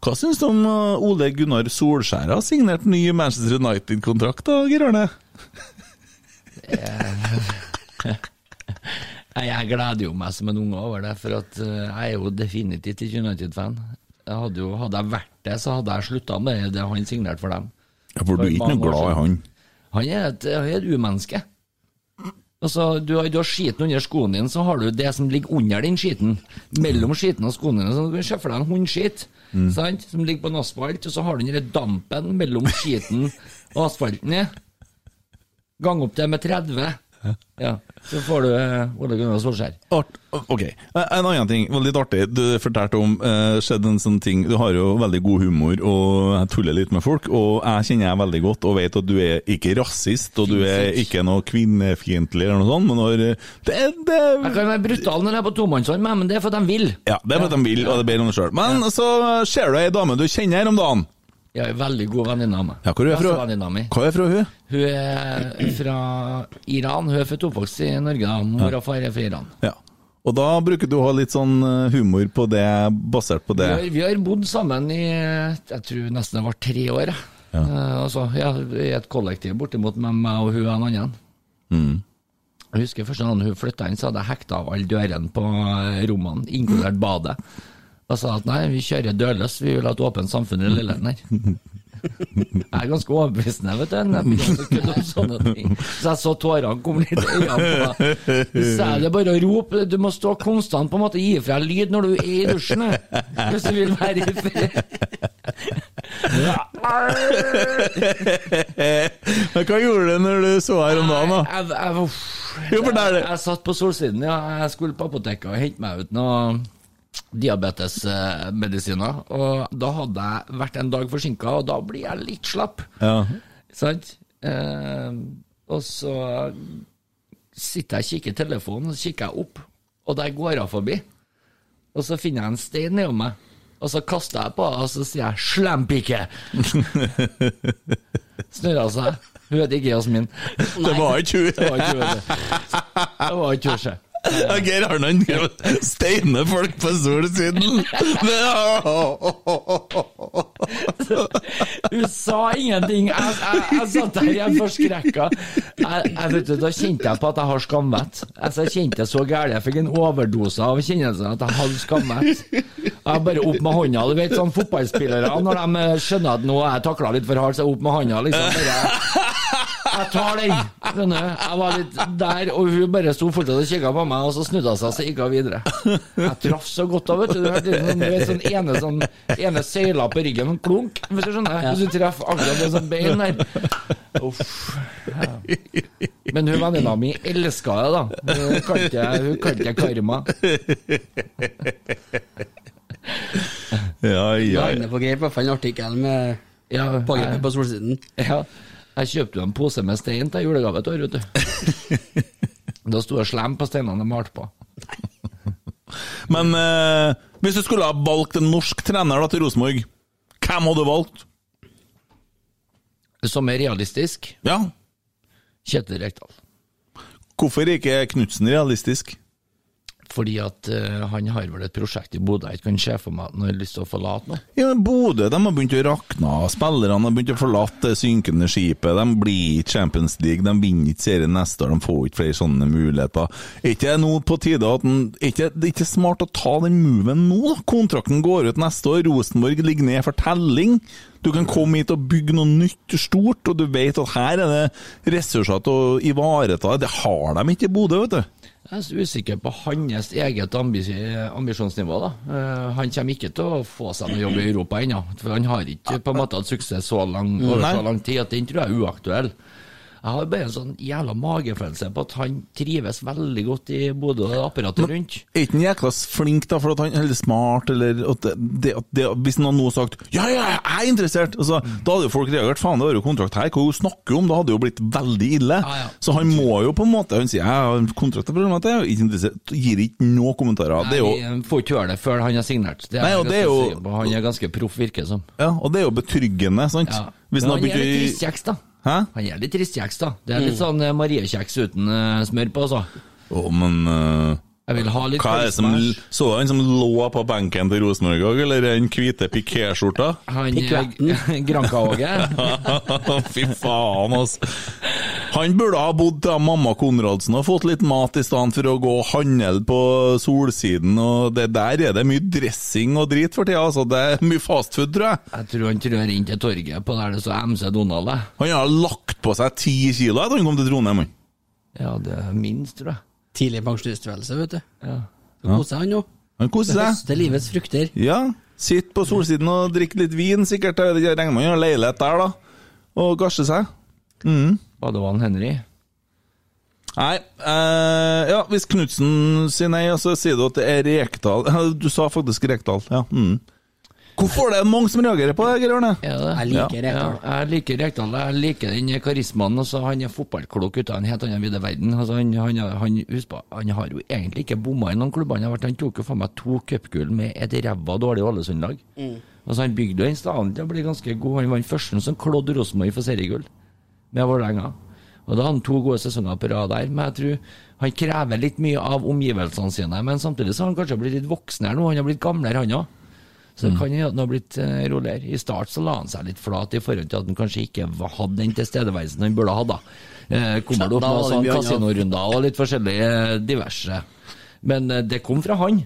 Hva syns du om uh, Ole Gunnar Solskjær har signert ny Manchester United-kontrakt, da, Geir Arne?
Nei, Jeg gleder jo meg som en unge over det, for at eh, jeg er jo definitivt ikke United-fan. Jeg Hadde, jo- hadde jeg vært det, så hadde jeg slutta med det han signerte for dem.
Ja, for
du er ikke noe glad i
han.
Han er et, han er et umenneske. Altså, du har, du har skiten under skoen din, så har du det som ligger under den skiten. Mellom skiten og skoen din. Så du kan se for deg en hundskitt
Mm.
sant? som ligger på en asfalt, og så har du den der dampen mellom skiten og asfalten. Ja. Gang opp det med 30. Ja, så får du eh, Ole Gunnar Solskjær.
Art, ok, En annen ting, var litt artig. Du fortalte om eh, skjedde en sånn ting Du har jo veldig god humor og jeg tuller litt med folk. Og jeg kjenner deg veldig godt og vet at du er ikke rasist og du er ikke noe kvinnefiendtlig eller noe sånt, men når, eh, det, det,
Jeg kan være brutal når jeg er på tomannshånd, men- men det er for at de vil.
ja, det er fordi de vil, og det ber om det sjøl. Men så eh, ser du ei dame du kjenner her om dagen.
Jeg er en veldig god venninne av meg.
Ja, hvor er hun fra?
Bestevenninna mi.
Hva er fra hun?
Hun er fra Iran. Hun er født og oppvokst i Norge. da. Mor og far er fra Iran.
Ja. Og da bruker du å ha litt sånn eh, humor på det, basert på
Vi
det.
har, vi har bodd sammen i jeg tror nesten det var tre år. jeg. Eh, altså, ja, I et kollektiv bortimot med meg og hun og en annen.
Mm.
Jeg husker første gang hun flytta inn, så hadde jeg hekta av alle dørene på eh, rommene, inkludert badet. Og sa at nei, vi kjører dørløs, vi vil ha et åpent samfunn i Lillehammer. Jeg er ganske overbevisende, vet du. når Jeg begynner å kunne om sånne ting. Så jeg så tårene komme litt i øynene på meg. Så er det bare å rope. Du må stå konstant på en måte gi fra deg lyd når du er i dusjen, hvis du vil være i fred.
Men hva gjorde du når du så her om dagen, da?
Jeg, jeg, uff.
Jo, fortell det.
Jeg, jeg satt på solsiden, ja. Jeg skulle på apoteket og hente meg ut noe diabetesmedisiner. Og da hadde jeg vært en dag forsinka, og da blir jeg litt slapp.
Ja.
Sant? Eh, og så sitter jeg og kikker i telefonen, og så kikker jeg opp, og der går hun forbi. Og så finner jeg en stein nedom meg, og så kaster jeg på henne, og så sier jeg 'slempike'. Snurrer hun seg. Hun heter ikke Jasmin.
Det var ikke hun.
Det var ikke hun. det. Det var ikke hun. sjø.
Ja, Geir Arnan steiner folk på solsiden. Det,
Hun sa ingenting. Jeg, jeg, jeg satt der igjen forskrekka. Jeg, jeg, vet du, da kjente jeg på at jeg har skamvett. Altså, jeg kjente det så gærent. Jeg fikk en overdose av kjennelsen at jeg hadde skamvett. Jeg bare opp med hånda. Du vet sånn fotballspillere, når de eh, skjønner at nå er jeg takla litt for hardt, så opp med hånda, liksom. Bare, jeg tar den! Skjønner du? Jeg var litt der, og hun bare sto fortsatt og kikka på meg, og så snudde hun seg, så gikk hun videre. Jeg traff så godt da, vet du. Du hørte litt sånn, du vet, sånn ene, sånn, ene søyla på ryggen, sånn klunk, hvis du skjønner. Hvis du treffer akkurat det sånn bein der. Uff. Ja. Men hun venninna mi elska det, da. Hun kalte hun kalte det karma.
ja, ja.
Jeg er inne på Geir, i hvert fall en artikkel med
Ja,
pågrepet
jeg,
på solsiden.
ja. Jeg kjøpte jo en pose med stein til julegave et år, vet du. Da sto det slem på steinene jeg malte på.
Men eh, hvis du skulle ha valgt en norsk trener da til Rosenborg, hvem hadde du valgt?
Som er realistisk.
Ja,
Kjetil Rekdal.
hvorfor er ikke Knutsen realistisk?
Fordi at eh, han har vel et prosjekt i Bodø jeg ikke kan se for meg at han har lyst til å forlate nå.
Ja, men Bodø de har begynt å rakne. Spillerne har begynt å forlate det synkende skipet. De blir ikke Champions League, de vinner ikke serien neste år, de får ikke flere sånne muligheter. Er ikke det nå på tide at den, er ikke, Det er ikke smart å ta den moven nå? da? Kontrakten går ut neste år, Rosenborg ligger ned for telling. Du kan komme hit og bygge noe nytt stort, og du vet at her er det ressurser til å ivareta. Det har de ikke i Bodø, vet du.
Jeg er så usikker på hans eget ambis ambisjonsnivå. da. Eh, han kommer ikke til å få seg noe jobb i Europa ennå. For han har ikke på en måte hatt suksess så lang, over
Nei.
så lang tid at den tror jeg er uaktuell. Jeg har bare en sånn jævla magefølelse på at han trives veldig godt i Bodø og apparatet rundt.
Er ikke han jækla flink, da, for at han er veldig smart, eller at det, det, at det, Hvis han hadde nå sagt 'ja, ja, jeg er interessert', altså,
Mm.
da hadde jo folk reagert 'faen, det var jo kontrakt her', hva hun snakker om? Det hadde jo blitt veldig ille.
Ja, ja.
Så han må jo på en måte Han sier 'jeg har en kontrakt, jeg er jo ikke interessert', gir ikke noe kommentarer. det er jo
Nei, får ikke høre det før han har signert. Det
Nei,
jeg
og det er
ganske
jo-
sikker på. Han er ganske proff, virker det som.
ja, Og det er jo betryggende, sant?
Ja.
Hvis han
Men
har
han
begynt
er litt
å
ristkjeks, da.
Hæ?
Han er litt ristkjeks, da. Det er litt sånn eh, Marie-kjeks uten eh, smør på, altså.
Å, men eh,
Jeg vil ha litt
hva er det som
karisma.
Så du han som lå på benken til Rosenborg i dag, eller den hvite pikéskjorta?
Han eh,
Pikkvetten.
Granka-Åge.
Fy faen, altså. Han burde ha bodd til mamma Konradsen og fått litt mat i stedet for å gå og handle på solsiden. Og det Der er det mye dressing og drit for tida. Altså. Det er mye fastfood, tror jeg.
Jeg tror han trør inn til torget på der det står MC Donald. jeg.
Han har lagt på seg ti kilo etter han kom til Trondheim. han.
Ja, det er minst, tror jeg.
Tidlig pensjonisttilværelse, vet du.
Ja.
Så koser han nå.
Han koser seg.
Høster livets frukter.
Ja, Sitter på solsiden og drikker litt vin, sikkert. Jeg vet ikke, jeg regner med han har leilighet der, da. Og gasjer seg.
Badevann Henry.
Nei, eh, ja, hvis Knutsen sier nei, så sier du at det er Rekdal. Du sa faktisk Rekdal, ja. Mm. Hvorfor er det mange som reagerer på det, Geir Arne?
Er det?
Jeg liker
ja,
Rekdal.
jeg liker Rekdal. Jeg liker den karismaen. Altså, han er fotballklok ute av en helt annen vide verden. Altså, han, han, han, husk på, han har jo egentlig ikke bomma i noen klubber. Han, har vært, han tok jo faen meg to cupgull med et ræva dårlig Ålesund-lag.
Mm.
Altså, han bygde jo en stand til å bli ganske god. Han var den første som klådde Rosenborg for seriegull med Vålerenga. Og da har han to gode sesonger på rad der, men jeg tror han krever litt mye av omgivelsene sine. Men samtidig så har han kanskje blitt litt voksen her nå, han har blitt gamlere han òg. Så
Mm.
det kan hende at han har blitt eh, roligere. I start så la han seg litt flat i forhold til at han kanskje ikke va- hadde den tilstedeværelsen han burde ha, da. Eh, Kommer det opp
Da var
noen
det
sånn
mye annet.
kasinorunder og litt forskjellige eh, diverse. Men eh, det kom fra han.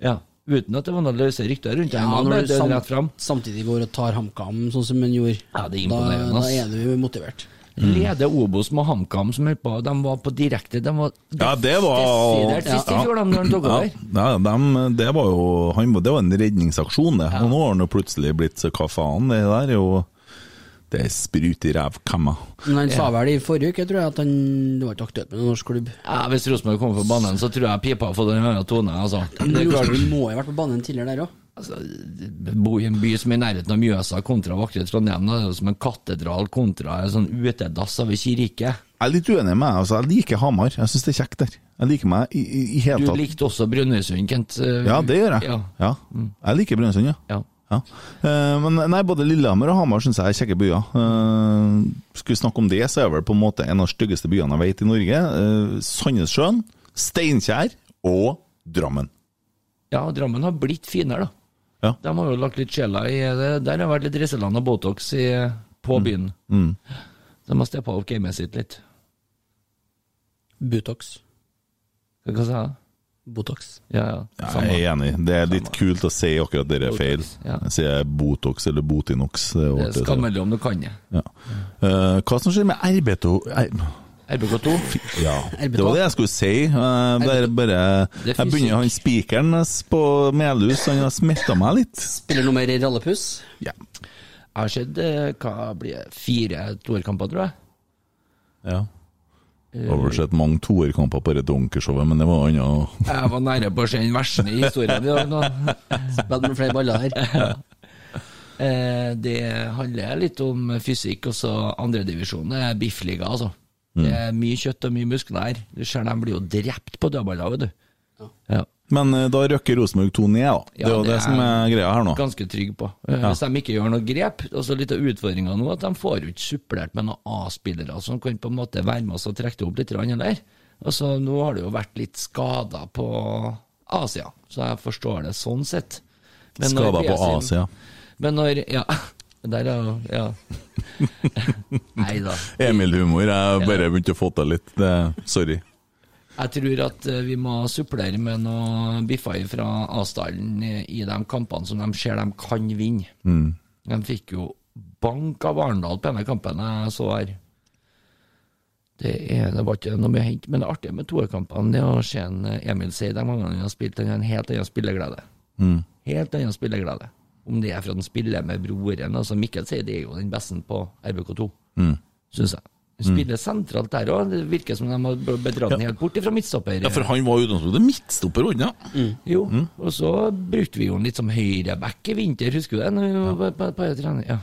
Ja. Uten at det var noen løse rykter rundt
Mm. Ja,
han var
når
bare
du
dønn
sam
rett frem.
samtidig går og tar HamKam sånn som han gjorde,
Ja, det
da,
er imponerende,
da
ass.
er du motivert.
Leder Obos med HamKam, som holdt på De var på direkte. De var
Ja, det var
desidert sist i fjor, da, når han tok
Ja,
over.
ja, dem- det var jo han, Det var en redningsaksjon, det. Og nå har han jo plutselig blitt så hva faen, det der er jo Det er sprut i rævkamma.
Men han sa vel i forrige uke, tror jeg, at han det var ikke aktuelt med noen norsk klubb.
Ja, hvis Rosenborg kommer på banen, så tror jeg pipa har fått en annen tone. Altså. Det er klart,
Rosenborg må jo ha vært på banen tidligere der òg.
altså, bo i en by som er i nærheten av Mjøsa kontra vakre Trondheim, da, det er jo som en katedral kontra en sånn utedass av en kirke.
Jeg er litt uenig med deg. Altså, jeg liker Hamar. Jeg syns det er kjekt der. Jeg liker meg i, i, i hele
Du
tatt.
likte også Brønnøysund, Kent. eh,
Ja, det gjør jeg.
Ja, Mm.
Ja. Jeg liker Brønnøysund, ja.
ja.
Ja. Eh, men nei, både Lillehammer og Hamar syns jeg er kjekke byer. Eh, skulle vi snakke om det, så er vel på en måte en av de styggeste byene jeg vet i Norge. Eh, Sandnessjøen, Steinkjer og Drammen.
ja, Drammen har blitt finere, da.
Ja.
De har jo lagt litt sjela i det. Der har vært litt Reseland og Botox i, på byen.
Mm.
De har steppa opp gamet sitt litt.
Butox.
Hva sa jeg?
Botox.
Ja, ja.
Ja,
Samme.
jeg er enig. Det er litt kult å si akkurat dere er feil.
Botox, ja.
Jeg sier Botox eller Botinox. Det er
Det
artig
er
å si.
skammelig om du kan det.
Ja. Eh, hva som skjer med RBTO R-
RBK2.
Ja,
RBTO.
det var det jeg skulle si. Eh, Det er bare,
Det er
jeg begynner han spikeren på Melhus, han har smitta meg litt.
Spiller nummer i rallepuss.
Ja.
Jeg har sett eh, hva blir det, fire toerkamper, tror jeg.
Ja. Eh. Oversett mange toerkamper på det donkershowet, men det var annet.
Jeg var nære på å se den verste i historien i dag. nå.
Spilt med flere baller her.
Eh, Det handler litt om fysikk, og så andredivisjon er biffliga, altså. Det er mye kjøtt og mye muskler her. Du ser de blir jo drept på dødballer, vet du. Ja.
Men eh, da røkker Rosenborg 2 ned, da. Det
Ja,
er jo
det
det som
er-
er greia her nå.
Ganske trygg på. Eh, Hvis de ikke gjør noe grep, og så litt av utfordringa nå, at de får jo ikke supplert med noen A-spillere som kan på en måte være med oss og trekke det opp litt, grann, eller? Altså, nå har det jo vært litt skader på Asia, så jeg forstår det sånn sett. Men når
Skader på
Pesin-
Asia.
Men når Ja. Der, er jo- ja. Nei da.
Emil-humor. Jeg bare begynte å få til litt. Det- Sorry.
Jeg tror at eh, vi må supplere med noen biffer fra Asdalen i i de kampene som de ser de kan vinne.
Mm.
De fikk jo bank av Arendal på denne kampen jeg så her. Det, er, det var ikke noe mye å hente, men det artige med toerkampene det er å se en eh, Emil si de gangene han har spilt, han har en helt annen spilleglede.
Mm.
Helt annen spilleglede. Om det er for at han spiller med broren, altså Mikkel sier det er jo den beste på RBK2,
Mm.
syns jeg. Han Spiller sentralt der òg, det virker som de har bedratt den helt bort fra midtstopper.
Ja, for han var jo utgangspunktet midtstopper unna.
Jo, og så brukte vi jo den litt som høyreback i vinter, husker du det? Når vi var på, på, på trening? ja.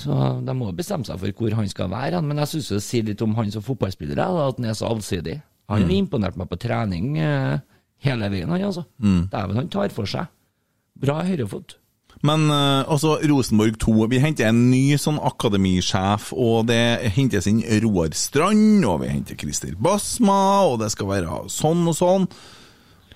Så de må bestemme seg for hvor han skal være, han. men jeg syns det sier litt om han som fotballspiller, da, at han er så allsidig. Han har imponert meg på trening eh, hele veien, han altså. Dæven, han tar for seg. Bra høyrefot.
Men eh, altså, Rosenborg 2 Vi henter en ny sånn akademisjef, og det hentes inn Roar Strand, og vi henter Christer Basma, og det skal være sånn og sånn.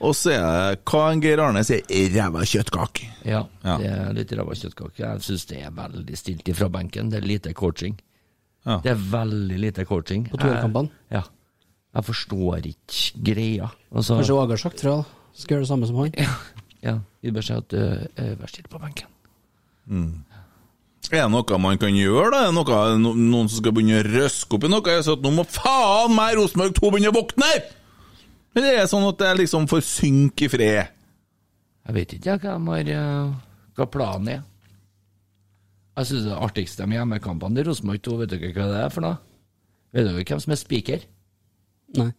Og så er det hva en Geir Arne sier ræva kjøttkake.
Ja,
Ja.
det er litt ræva kjøttkake. Jeg syns det er veldig stilt ifra benken. Det er lite coaching.
Ja.
Det er veldig lite coaching.
På toerkampene?
Jeg- Ja. Jeg forstår ikke greia. Altså,
Kanskje Åge har sagt fra, skal gjøre det samme som han.
Ja, ja. Gi beskjed at uh, vær stille på benken.
Er det noe man kan gjøre, da? Er det noe, no, noen som skal begynne å røske opp i noe? Jeg sa at nå må faen meg Rosenborg 2 begynne å våkne! Men det er sånn at det liksom får synke i fred.
Jeg vet ikke jeg, hva, de har, eh, hva planen er. Jeg synes det artigste med hjemmekampene til Rosenborg 2, vet dere hva det er for noe? Vet dere hvem som er speaker?
Nei.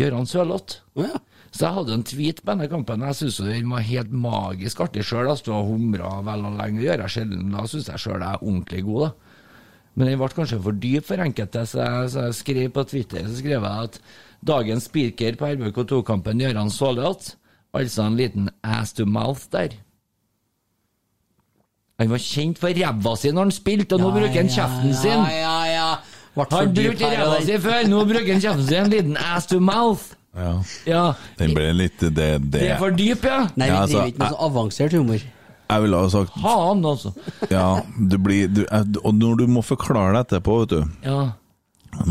Gøran Sørloth.
Å ja.
Så jeg hadde en tweet på denne kampen. Jeg syns den var helt magisk artig altså. sjøl. Jeg sto og humra vel og lenge, det gjør jeg sjelden. Da syns jeg sjøl jeg er ordentlig god, da. Men den ble kanskje for dyp for enkelte, så jeg, så jeg skrev på Twitter så skrev jeg at dagens speaker på RBK2-kampen Gøran Sørloth, altså en liten ass to mouth der. Han var kjent for ræva si når han spilte, og nå bruker han kjeften sin!
Ja, ja, ja. Vart for
Han
dyp
brukte
her,
ræva
og
si
den-
før, nå bruker han kjeften sin! En liten ass to mouth!
Ja,
Ja,
den ble litt Det,
det er for dyp, ja!
Nei, vi
Ja, altså,
driver ikke med så avansert humor.
Jeg ville ha sagt
Faen, altså!
Ja, du blir du, Og når du må forklare det etterpå, vet du
Ja.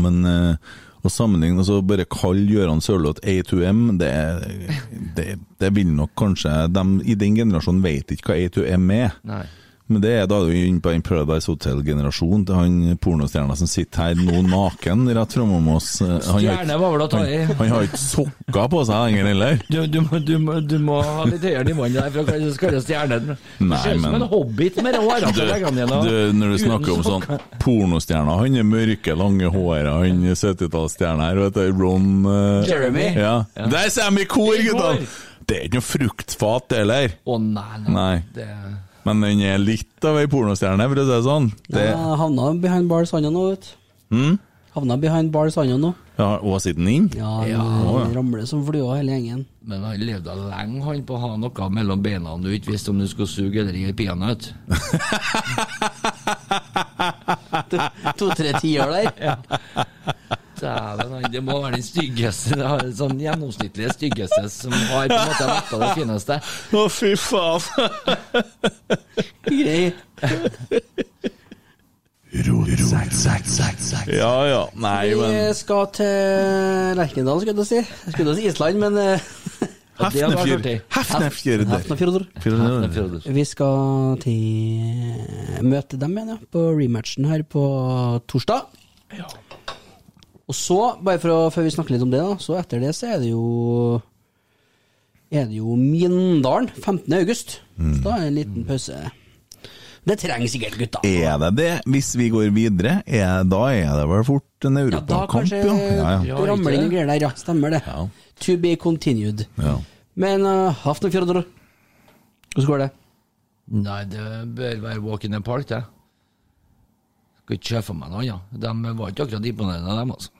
Men eh, å sammenligne og så bare kalle Gøran Sørloth A2M, det, er- det, det vil nok kanskje de i den generasjonen vet ikke hva A2M er.
Nei.
Men det er da er du inne på en Paradise Hotel-generasjon til han pornostjerna som sitter her nå naken rett framom oss. Eh, Han har
Stjerne var vel å
ikke-
ta i.
han, han har ikke sokker på seg lenger heller.
Du, du, må, du, må, du må ha litt høyere nivå enn det der, for å kalle- kalle det stjernen. Du
Nei,
ser ut som
men-
en hobbit med rå hår.
Du, du, når du snakker om sånn pornostjerner Han er mørke, lange hår, han er 70-tallsstjerne her, vet du. Ron eh,
Jeremy.
Ja. Der sier de i kor,
I kor.
gutta! Det er ikke noe fruktfat, det heller.
Å nei, nei.
Nei.
Det,
Men den er litt av ei pornostjerne, for å si det sånn. Det, Hmm?
Ja, havna behind bars han nå, vet du. Havna behind bars han nå.
ja, og sitter den inn?
Ja,
Ja.
han ramler som flua hele gjengen.
men han levde lenge han på å ha noe mellom beina du ikke visste om du skulle suge eller gi peanøtt.
To-tre tiår der.
Dæven, han- Det må være den styggeste, det har- sånn gjennomsnittlige styggeste som har på en måte vært av det fineste.
Å, fy faen!
Grei.
Ja ja. Nei, men
Vi skal til Lerkendal, skulle jeg til å si. Jeg skulle til å si Island, men eh,
Og det hadde vært
Hefnefjord.
artig.
Hefnefjord.
Hafnarfjordur.
Hefnefjord.
Vi skal til eh, møte dem igjen, ja, på rematchen her på torsdag. Og så, bare for å, før vi snakker litt om det, da, så etter det så er det jo er det jo Mindalen 15. august.
Mm.
Så da er det en liten pause. Det trenger sikkert gutta.
Er det det? Hvis vi går videre, er, da er det vel fort en
Ja, da
europakamp,
kanskje
ja. Ja, ja.
Ja,
det ramler inn
ikke det?
noen greier der, ja. Stemmer det.
Ja.
To be continued. eh,
Ja.
Men uh, Hafnarfjordur, hvordan går det?
Nei, det bør være walk in the park, det. Skal ikke se for meg noe annet. De var ikke akkurat imponerende, dem, altså.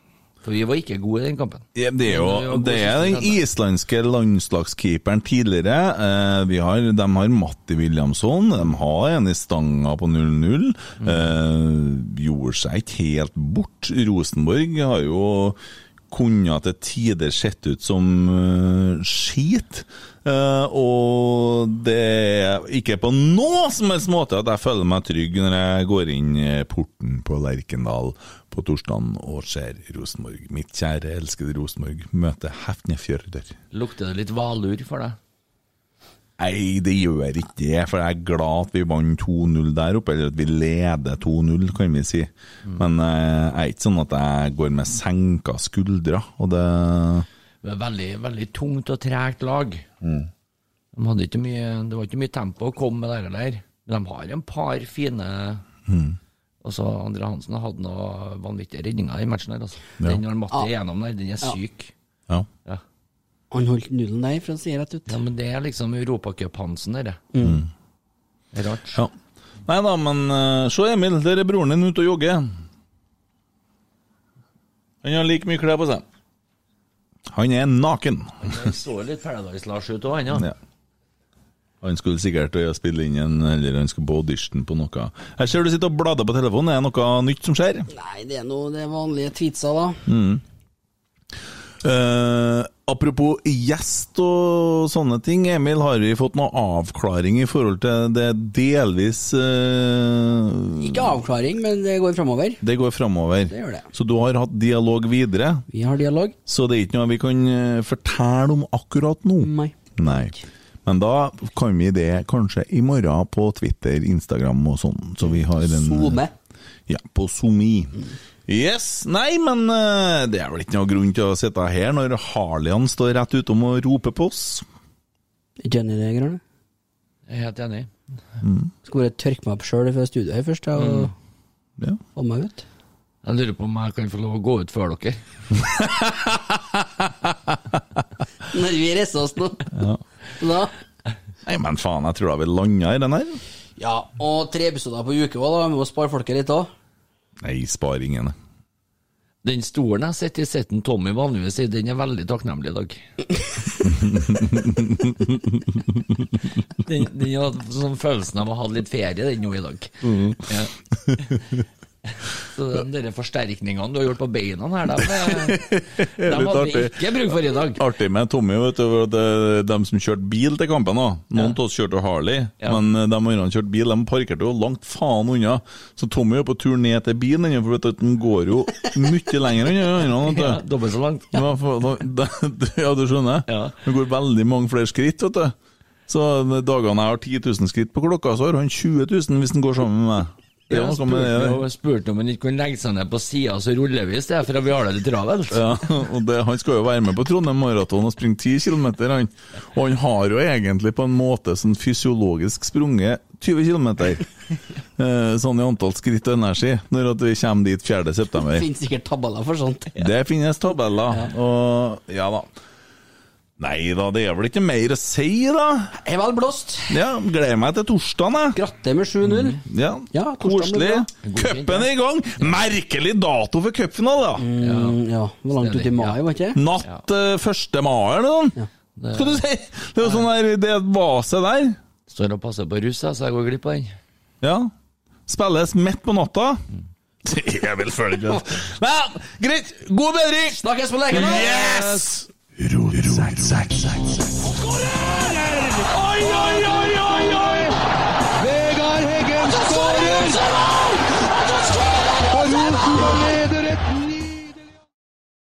For vi var ikke gode i den kampen.
Ja, Det er
Det er jo
jo
god
det er den
siste
islandske landslagskeeperen tidligere. Eh, vi har, de har Matti Williamson, de har en i stanga på 0-0.
Mm.
Eh, gjorde seg ikke helt bort. Rosenborg har jo kunnet til tider sett ut som eh, skit. Eh, og det er ikke på noe som helst måte at jeg føler meg trygg når jeg går inn eh, porten på Lerkendal på torsdagen og ser Rosenborg. Mitt kjære, elskede Rosenborg møter Hefnefjørder.
Lukter det litt valur for deg?
Nei, det gjør ikke det, for jeg er glad at vi vant 2-0 der oppe, eller at vi leder 2-0, kan vi si. Men eh, jeg er ikke sånn at jeg går med senka skuldre, og det
Det var veldig, veldig tungt og tregt lag. De hadde ikke mye, det var ikke mye tempo å komme med der heller. Men de har en par fine Altså, Andre Hansen hadde noe vanvittige redninger i matchen her. Altså. Den når Matti er gjennom der, den er syk.
Ja.
Ja.
Han holdt nullen der, for å si det rett ut.
ja, men Det er liksom Europacup-Hansen, dette. Rart.
ja. Nei da, men eh, se Emil, der er broren din ute og jogger. Han har like mye klær på seg. Han er naken.
Det så litt Paradise Lars ut òg, han. Ja.
Ja. Han skulle sikkert øye spille inn en, eller han skulle på audition på noe. Jeg ser du sitter og blader på telefonen, er det noe nytt som skjer?
Nei, det er nå det vanlige tweetsa, da.
Eh, apropos gjest og sånne ting, Emil, har vi fått noen avklaring i forhold til det delvis eh,
Ikke avklaring, men det går framover.
Det går framover.
Det gjør det.
Så du har hatt dialog videre,
Vi har dialog.
så det er ikke noe vi kan eh, fortelle om akkurat nå.
Nei.
Nei. Men da kan vi det kanskje i morgen på Twitter, Instagram og sånn. Så vi har en
Zone.
Ja, på Somi. Yes, Nei, men eh, det er vel ikke noe grunn til å sitte her når Harlian står rett utom og roper på oss.
Jenny det greiene.
Jeg er helt enig.
Skal bare tørke meg opp sjøl fra studioet her først, da, og
Ja.
få meg ut.
Jeg lurer på om jeg kan få lov å gå ut før dere.
Når vi reiser oss nå. Da.
Nei, men faen, jeg tror da vi landa i den her.
Ja, og tre episoder på uke òg, da. Vi må spare folket litt òg.
Nei, spar ingen.
Den stolen jeg sitter i, sitter en Tommy vanligvis i. Den er veldig takknemlig i dag. den, den hadde sånn følelsen av å ha litt ferie den nå i dag.
Mm.
Ja. Så den der forsterkningene du har gjort på beina her, de, de hadde vi
artig.
ikke bruk for i dag.
Artig med Tommy, vet du, for at eh, dem som kjørte bil til kampen òg. Noen av oss kjørte Harley,
Ja.
men eh, de andre kjørte bil. De parkerte jo langt faen unna. Så Tommy er på tur ned til bilen, ennå, for vet du, at den går jo mye lenger unna. den andre,
Ja,
vet du.
dobbelt så langt.
Ja, for, da, da, ja du skjønner?
Ja.
Det går veldig mange flere skritt, vet du. Så de dagene jeg har 10 000 skritt på klokka, så har han 20 000 hvis han går sammen med meg. Det er
Jeg
jo noe med det.
spurte spurt om han ikke kunne legge seg ned på sida, så ruller vi i stedet for at vi har det litt travelt.
Ja, og det, Han skal jo være med på Trondheim Maraton og springe 10 km. Han. Og han har jo egentlig på en måte sånn fysiologisk sprunget 20 km. Sånn i antall skritt og energi, når at vi kommer dit 4. september.
Finnes sikkert tabeller for sånt.
Det finnes tabeller, og ja da. Nei da, det er vel ikke mer å si, da?
Er vel blåst.
Ja, Gleder meg til torsdagen, jeg.
Gratte med 7-0.
Ja,
Ja, torsdagen
Koselig.
blir
Cupen er i gang! Merkelig dato for cupfinale, da!
Mm, ja, det var langt ut i
Stedig,
mai,
ja.
var ikke det?
Natt eh, 1. mai eller noe sånt. Skal du si! Det er jo sånn der, det vase der.
Står og passer på russ, jeg, så jeg går glipp av den.
Ja. Spilles midt på natta. Jeg vil føle ikke det. Nei, greit. God bedring!
Snakkes på leken!
Yes! Ro, ro, ro, ro, ro, ro, ro, ro.
Oi, oi, oi, oi!